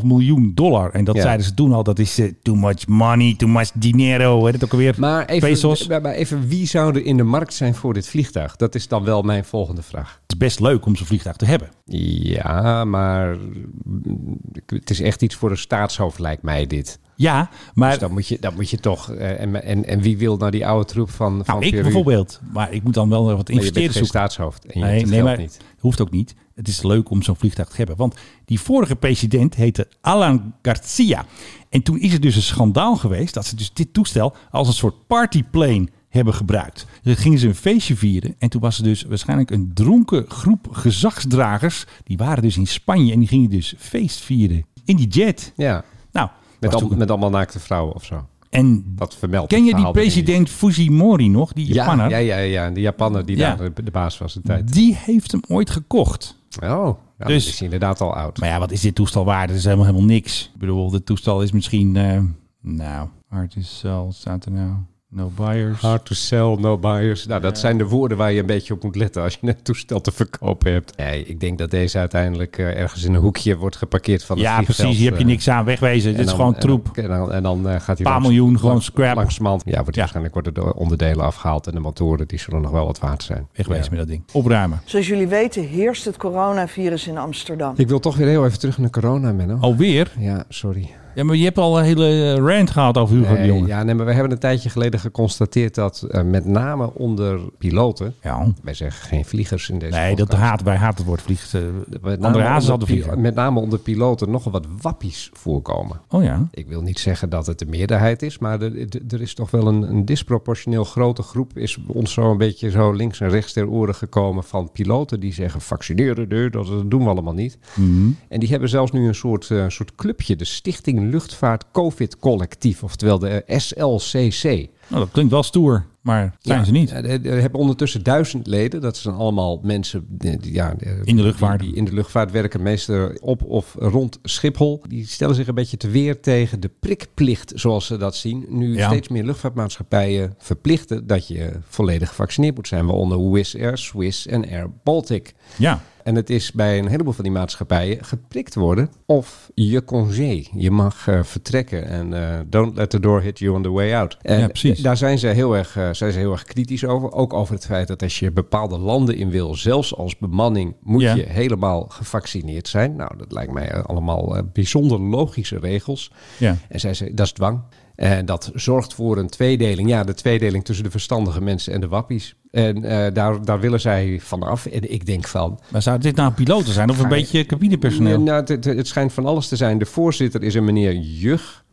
[SPEAKER 9] 18,5 miljoen dollar. En dat
[SPEAKER 10] Ja.
[SPEAKER 9] zeiden ze toen al, dat is eh, too much money, too much dinero, hè, dat ook alweer.
[SPEAKER 10] Maar
[SPEAKER 9] Pesos.
[SPEAKER 10] even, maar- maar even, wie zou er in de markt zijn voor dit vliegtuig? Dat is dan wel mijn volgende vraag.
[SPEAKER 9] Het is best leuk om zo'n vliegtuig te hebben.
[SPEAKER 10] Ja, maar mm, het is echt iets voor een staatshoofd, lijkt mij dit.
[SPEAKER 9] Ja, maar
[SPEAKER 10] Dus dan moet je, dan moet je toch... eh, En, en, en wie wil nou die oude troep van, van
[SPEAKER 9] nou, ik
[SPEAKER 10] Peru?
[SPEAKER 9] bijvoorbeeld. Maar ik moet dan wel wat
[SPEAKER 10] Maar je bent
[SPEAKER 9] investeren
[SPEAKER 10] geen
[SPEAKER 9] zoeken.
[SPEAKER 10] staatshoofd en je hebt het geld
[SPEAKER 9] maar
[SPEAKER 10] niet.
[SPEAKER 9] hoeft ook niet. Het is leuk om zo'n vliegtuig te hebben. Want die vorige president heette Alan Garcia. En toen is er dus een schandaal geweest dat ze dus dit toestel als een soort partyplane hebben gebruikt. Dus dan gingen ze een feestje vieren en toen was er dus waarschijnlijk een dronken groep gezagsdragers. Die waren dus in Spanje en die gingen dus feest vieren in die jet.
[SPEAKER 10] Ja,
[SPEAKER 9] Nou,
[SPEAKER 10] met,
[SPEAKER 9] was
[SPEAKER 10] al-
[SPEAKER 9] toen-
[SPEAKER 10] met allemaal naakte vrouwen of zo.
[SPEAKER 9] en
[SPEAKER 10] Dat vermeldt
[SPEAKER 9] ken
[SPEAKER 10] het
[SPEAKER 9] je die
[SPEAKER 10] verhaal dan in
[SPEAKER 9] president Fujimori nog, die
[SPEAKER 10] Ja,
[SPEAKER 9] Japanner?
[SPEAKER 10] ja, ja, ja, de Japanner die
[SPEAKER 9] Ja.
[SPEAKER 10] daar de, de baas was de tijd.
[SPEAKER 9] Die heeft hem ooit gekocht.
[SPEAKER 10] Oh, ja, dus
[SPEAKER 9] Dus-
[SPEAKER 10] is inderdaad al oud.
[SPEAKER 9] Maar ja, wat is dit toestel waard? Het is helemaal, helemaal niks. Ik bedoel, dit toestel is misschien... eh, nou, artist sell, staat er nou? No buyers.
[SPEAKER 10] Hard to sell, no buyers. Nou, dat zijn de woorden waar je een beetje op moet letten als je een toestel te verkopen hebt. Nee, ik denk dat deze uiteindelijk eh, ergens in een hoekje wordt geparkeerd van het
[SPEAKER 9] ja,
[SPEAKER 10] vliegveld,
[SPEAKER 9] precies. Hier heb je
[SPEAKER 10] eh,
[SPEAKER 9] niks aan. Wegwezen. Dit
[SPEAKER 10] en
[SPEAKER 9] is
[SPEAKER 10] dan-
[SPEAKER 9] gewoon
[SPEAKER 10] en
[SPEAKER 9] troep.
[SPEAKER 10] dan- En dan, en dan eh, gaat hij
[SPEAKER 9] Paar
[SPEAKER 10] langs-
[SPEAKER 9] miljoen, gewoon
[SPEAKER 10] langs-
[SPEAKER 9] scrap.
[SPEAKER 10] Langs mand. Ja, wordt
[SPEAKER 9] Ja.
[SPEAKER 10] waarschijnlijk worden de onderdelen afgehaald en de motoren die zullen nog wel wat waard zijn.
[SPEAKER 9] Wegwezen
[SPEAKER 10] Ja.
[SPEAKER 9] met dat ding. Opruimen.
[SPEAKER 12] Zoals jullie weten heerst het coronavirus in Amsterdam.
[SPEAKER 10] Ik wil toch weer heel even terug naar corona, Menno.
[SPEAKER 9] Oh. Alweer?
[SPEAKER 10] Ja, sorry.
[SPEAKER 9] Ja, maar je hebt al een hele eh, rant gehad over Hugo de
[SPEAKER 10] Eh,
[SPEAKER 9] Jonge. Ja.
[SPEAKER 10] ja, nee, maar we hebben een tijdje geleden geconstateerd dat eh, met name onder piloten, wij zeggen geen vliegers in deze
[SPEAKER 9] Nee, dat
[SPEAKER 10] podcast.
[SPEAKER 9] haat, wij haat het woord vliegt. eh,
[SPEAKER 10] Met
[SPEAKER 9] André
[SPEAKER 10] name onder
[SPEAKER 9] Hazes had een
[SPEAKER 10] pi-
[SPEAKER 9] vlieger.
[SPEAKER 10] Met name onder piloten nog wat wappies voorkomen.
[SPEAKER 9] Oh ja.
[SPEAKER 10] Ik wil niet zeggen dat het de meerderheid is, maar er, er- er is toch wel een, een disproportioneel grote groep. Is ons zo een beetje zo links en rechts ter oren gekomen van piloten die zeggen: vaccineren, deur, dat, dat doen we allemaal niet.
[SPEAKER 9] Mhm.
[SPEAKER 10] En die hebben zelfs nu een soort, eh, soort clubje, de Stichting Luchtvaart COVID Collectief, oftewel de eh, SLCC.
[SPEAKER 9] Nou, dat klinkt wel stoer, maar zijn
[SPEAKER 10] Ja,
[SPEAKER 9] ze niet.
[SPEAKER 10] eh, Er er hebben ondertussen duizend leden. Dat zijn allemaal mensen die, die- ja, eh,
[SPEAKER 9] In de luchtvaart.
[SPEAKER 10] Die, die in de luchtvaart werken, meestal op of rond Schiphol. Die stellen zich een beetje te weer tegen de prikplicht, zoals ze dat zien. Nu
[SPEAKER 9] Ja.
[SPEAKER 10] steeds meer luchtvaartmaatschappijen verplichten dat je volledig gevaccineerd moet zijn. Waaronder Wizz Air, Swiss en Air Baltic.
[SPEAKER 9] Ja.
[SPEAKER 10] En het is bij een heleboel van die maatschappijen geprikt worden. Of je congé. Je mag eh, vertrekken. En eh, don't let the door hit you on the way out. En
[SPEAKER 9] Ja, precies.
[SPEAKER 10] daar zijn ze, heel erg, eh, zijn ze heel erg kritisch over. Ook over het feit dat als je bepaalde landen in wil, zelfs als bemanning, moet
[SPEAKER 9] Ja.
[SPEAKER 10] je helemaal gevaccineerd zijn. Nou, dat lijkt mij eh, allemaal eh, bijzonder logische regels.
[SPEAKER 9] Ja.
[SPEAKER 10] En zij zei, dat is dwang. En dat zorgt voor een tweedeling. Ja, de tweedeling tussen de verstandige mensen en de wappies. En eh, daar, daar willen zij van af. En ik denk van,
[SPEAKER 9] Maar zou dit nou piloten zijn of een beetje
[SPEAKER 10] Nee,
[SPEAKER 9] cabinepersoneel?
[SPEAKER 10] nou, het, het- het schijnt van alles te zijn. De voorzitter is een meneer Jug.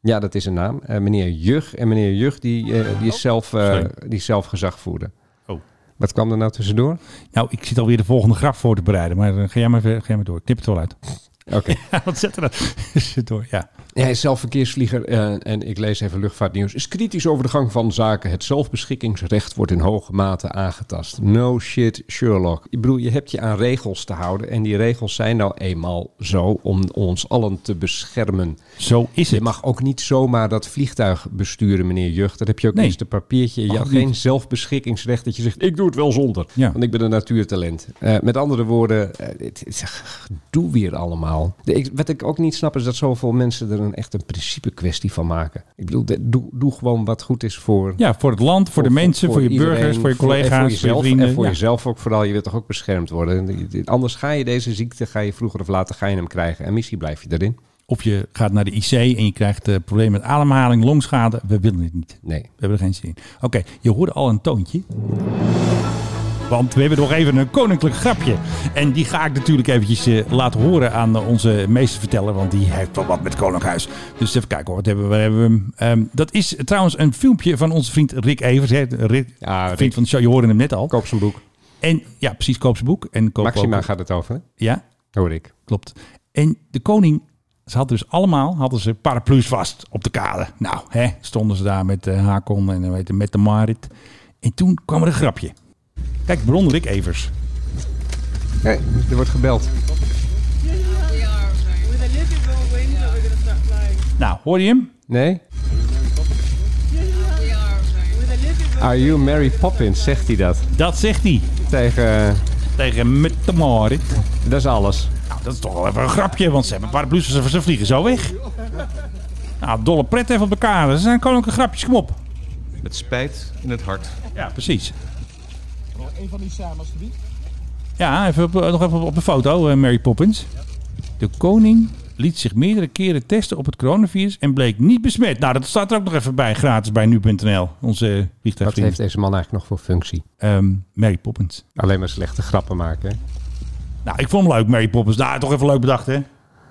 [SPEAKER 10] Ja, dat is een naam. Eh, meneer Jug. En meneer Jug die, eh, die, is zelf, eh,
[SPEAKER 9] Oh, Sorry.
[SPEAKER 10] die is zelf gezagvoerder.
[SPEAKER 9] Oh.
[SPEAKER 10] Wat kwam er nou tussendoor?
[SPEAKER 9] Nou, ik zit alweer de volgende grap voor te bereiden, maar eh, ga jij maar, ver- ga jij maar door. Ik knip het wel uit.
[SPEAKER 10] Oké.
[SPEAKER 9] *laughs* Ja, wat zet er dan? door, ja.
[SPEAKER 10] Hij is zelf verkeersvlieger eh, en ik lees even luchtvaartnieuws. Is kritisch over de gang van zaken. Het zelfbeschikkingsrecht wordt in hoge mate aangetast. No shit, Sherlock. Ik bedoel, je hebt je aan regels te houden. En die regels zijn nou eenmaal zo om ons allen te beschermen.
[SPEAKER 9] Zo is
[SPEAKER 10] Je
[SPEAKER 9] het.
[SPEAKER 10] mag ook niet zomaar dat vliegtuig besturen, meneer Jucht. Dat heb je ook
[SPEAKER 9] Nee.
[SPEAKER 10] eens een papiertje. Je
[SPEAKER 9] Mag
[SPEAKER 10] hebt
[SPEAKER 9] niet.
[SPEAKER 10] geen zelfbeschikkingsrecht dat je zegt, ik doe het wel zonder.
[SPEAKER 9] Ja.
[SPEAKER 10] Want ik ben een natuurtalent. Eh, met andere woorden, eh, het, het, doe weer allemaal. verhaal. De- ik- wat ik ook niet snap is dat zoveel mensen er een echt een principe kwestie van maken. Ik bedoel, de- doe, doe gewoon wat goed is voor...
[SPEAKER 9] Ja, voor het land, voor de mensen, voor je burgers, voor je
[SPEAKER 10] en
[SPEAKER 9] collega's, voor je
[SPEAKER 10] jezelf,
[SPEAKER 9] vrienden.
[SPEAKER 10] En voor
[SPEAKER 9] Ja.
[SPEAKER 10] jezelf ook vooral. Je wilt toch ook beschermd worden. En Anders ga je deze ziekte, ga je vroeger of later ga je hem krijgen. En misschien blijf je erin.
[SPEAKER 9] Of je gaat naar de IC en je krijgt eh problemen met ademhaling, longschade. We willen dit niet.
[SPEAKER 10] Nee. We
[SPEAKER 9] hebben er geen zin in. Oké, je hoorde al een toontje. Want we hebben nog even een koninklijk grapje. En die ga ik natuurlijk eventjes eh, laten horen aan eh, onze meesterverteller. Want die heeft wel wat met Koninkhuis. Dus even kijken hoor, wat hebben we? Waar hebben we hem? Ehm, dat is trouwens een filmpje van onze vriend Rick Evers. Hè? Rick, vriend van de show, je hoorde hem net al.
[SPEAKER 10] Koop zijn boek.
[SPEAKER 9] En, ja, precies, koop zijn boek. En koop
[SPEAKER 10] Maxima
[SPEAKER 9] ook-
[SPEAKER 10] gaat het over, hè?
[SPEAKER 9] Ja.
[SPEAKER 10] Hoor ik.
[SPEAKER 9] Klopt. En de koning, ze hadden dus allemaal hadden ze paraplu's vast op de kade. Nou, hè, stonden ze daar met de Hakon en eh, weet je, met de Marit. En toen kwam er een grapje. Kijk, bron Rick Evers.
[SPEAKER 10] Hey, er wordt gebeld.
[SPEAKER 9] Nou, hoor je hem?
[SPEAKER 10] Nee? Are you Mary Poppins, zegt hij dat?
[SPEAKER 9] Dat zegt hij.
[SPEAKER 10] Tegen... eh,
[SPEAKER 9] Tegen Mette Marit.
[SPEAKER 10] Dat is alles.
[SPEAKER 9] Nou, dat is toch wel even een grapje, want ze hebben paraplu's, ze, ze vliegen zo weg. Nou, dolle pret even op de kade. Ze zijn koninklijke grapjes, kom op.
[SPEAKER 8] Met spijt in het hart.
[SPEAKER 9] Ja, precies.
[SPEAKER 13] Een van die samen, alsjeblieft.
[SPEAKER 9] Ja, even op, eh, nog even op de foto, eh, Mary Poppins. De koning liet zich meerdere keren testen op het coronavirus en bleek niet besmet. Nou, dat staat er ook nog even bij, gratis bij nu.nl. Onze
[SPEAKER 10] Wat
[SPEAKER 9] vliegtuigvriend. Ehm,
[SPEAKER 10] heeft deze man eigenlijk nog voor functie?
[SPEAKER 9] Mary Poppins.
[SPEAKER 10] Alleen maar slechte grappen maken, hè?
[SPEAKER 9] Nou, ik vond hem leuk, Mary Poppins. Nou, toch even leuk bedacht, hè?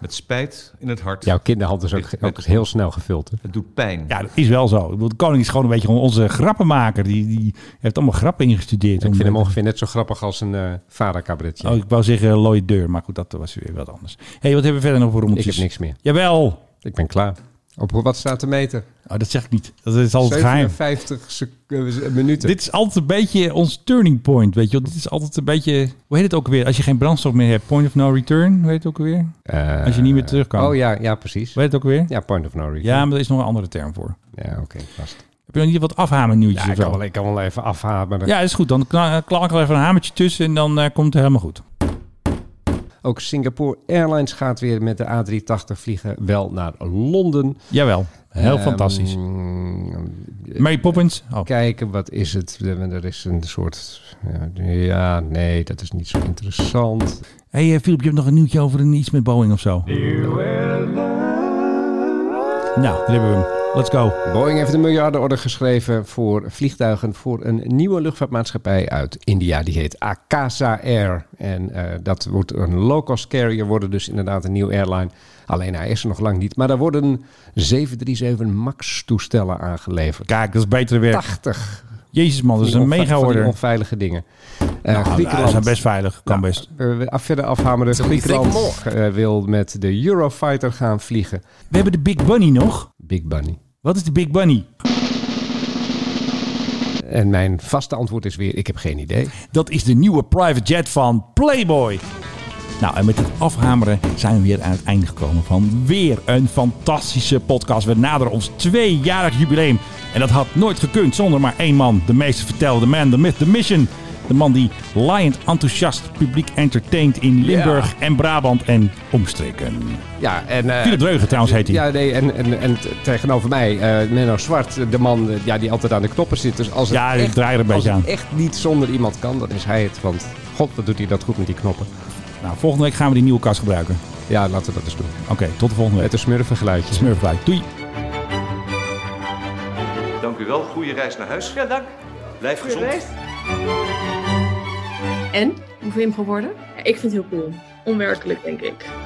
[SPEAKER 8] Met spijt in het hart.
[SPEAKER 10] Jouw kinderhand is ook, ook heel snel gevuld, hè?
[SPEAKER 8] Het doet pijn.
[SPEAKER 9] Ja, dat is wel zo. Ik bedoel, de koning is gewoon een beetje onze grappenmaker. Die, die heeft allemaal grappen ingestudeerd. eh,
[SPEAKER 10] Ik vind hem ongeveer net zo grappig als een eh vadercabaretje.
[SPEAKER 9] Oh, ik wou zeggen Lloyd Deur, maar goed, dat was weer wat anders. Hé, hey, wat hebben we verder nog voor
[SPEAKER 10] Ik
[SPEAKER 9] rommeltjes?
[SPEAKER 10] heb niks meer.
[SPEAKER 9] Jawel!
[SPEAKER 10] Ik ben klaar. Op wat staat de meter?
[SPEAKER 9] Oh, dat zeg ik niet. Dat is altijd geheim.
[SPEAKER 10] 50 eh, minuten.
[SPEAKER 9] Dit is altijd een beetje ons turning point, weet je wel. Dit is altijd een beetje... Hoe heet het ook weer? Als je geen brandstof meer hebt. Point of no return, hoe heet het ook weer?
[SPEAKER 10] Eh,
[SPEAKER 9] Als je niet meer terug kan.
[SPEAKER 10] Oh ja, ja, precies.
[SPEAKER 9] Weet het ook weer?
[SPEAKER 10] Ja, point of no return.
[SPEAKER 9] Ja, maar er is nog een andere term voor.
[SPEAKER 10] Ja, oké, vast.
[SPEAKER 9] Heb je nog niet wat afhamen nieuwtjes
[SPEAKER 10] Ja, ik
[SPEAKER 9] of zo?
[SPEAKER 10] kan, wel, ik kan wel even afhameren.
[SPEAKER 9] Dus Ja, is goed. Dan kna- klak er even een hamertje tussen en dan eh, komt het helemaal goed.
[SPEAKER 10] Ook Singapore Airlines gaat weer met de A380 vliegen wel naar Londen.
[SPEAKER 9] Jawel, heel
[SPEAKER 10] Ehm,
[SPEAKER 9] fantastisch. Mary Poppins. Oh.
[SPEAKER 10] Kijken, wat is het? Eh, Er is een soort... ja, Ja, nee, dat is niet zo interessant.
[SPEAKER 9] Hé, hey, eh, Filip, je hebt nog een nieuwtje over een, iets met Boeing of zo. Nou, daar hebben we hem. Let's go.
[SPEAKER 10] Boeing heeft een miljardenorde geschreven voor vliegtuigen voor een nieuwe luchtvaartmaatschappij uit India. Die heet Akasa Air. En eh, dat wordt een low-cost carrier, worden dus inderdaad een nieuwe airline. Alleen hij is er nog lang niet. Maar daar worden 737 MAX toestellen aangeleverd.
[SPEAKER 9] Kijk, dat is betere werk.
[SPEAKER 10] 80.
[SPEAKER 9] Jezus man, dat is
[SPEAKER 10] Van
[SPEAKER 9] een
[SPEAKER 10] die onve-
[SPEAKER 9] mega
[SPEAKER 10] van die
[SPEAKER 9] order. Ah,
[SPEAKER 10] onveilige dingen. Eh,
[SPEAKER 9] Griekenland.
[SPEAKER 10] Griekenland.
[SPEAKER 9] zijn best veilig. Kan best.
[SPEAKER 10] Eh, we- af, verder afhameren.
[SPEAKER 9] Zo, die
[SPEAKER 10] Griekenland
[SPEAKER 9] Grieken
[SPEAKER 10] eh, wil met de Eurofighter gaan vliegen.
[SPEAKER 9] We hebben de Big Bunny nog.
[SPEAKER 10] Big Bunny.
[SPEAKER 9] Wat is de Big Bunny?
[SPEAKER 10] En mijn vaste antwoord is weer, ik heb geen idee.
[SPEAKER 9] Dat is de nieuwe private jet van Playboy. Nou, en met het afhameren zijn we weer aan het einde gekomen van weer een fantastische podcast. We naderen ons tweejarig jubileum. En dat had nooit gekund zonder maar één man. De meester vertelde, de man, de myth, de mission. De man die lion enthousiast publiek entertaint in Limburg en Brabant en omstreken.
[SPEAKER 10] Ja, en... eh,
[SPEAKER 9] Philip Dreugen trouwens heet hij.
[SPEAKER 10] Ja, nee, en, en, en t- tegenover mij, eh Menno Zwart, de man eh, ja, die altijd aan de knoppen zit. Dus als het
[SPEAKER 9] Ja, ik
[SPEAKER 10] echt,
[SPEAKER 9] draai er een
[SPEAKER 10] als
[SPEAKER 9] beetje
[SPEAKER 10] het
[SPEAKER 9] aan.
[SPEAKER 10] echt niet zonder iemand kan, dan is hij het. Want god, wat doet hij dat goed met die knoppen.
[SPEAKER 9] Nou, volgende week gaan we die nieuwe kast gebruiken.
[SPEAKER 10] Ja, laten we dat eens doen.
[SPEAKER 9] Oké, tot de volgende week.
[SPEAKER 10] Het is smurfengeluidje.
[SPEAKER 9] Smurfgeluid. Doei.
[SPEAKER 8] Dank u wel. Goede reis naar huis. Ja, dank. Blijf gezond.
[SPEAKER 2] En? Hoe vind je hem geworden?
[SPEAKER 8] Ja, ik vind het heel cool.
[SPEAKER 2] Onwerkelijk, denk ik.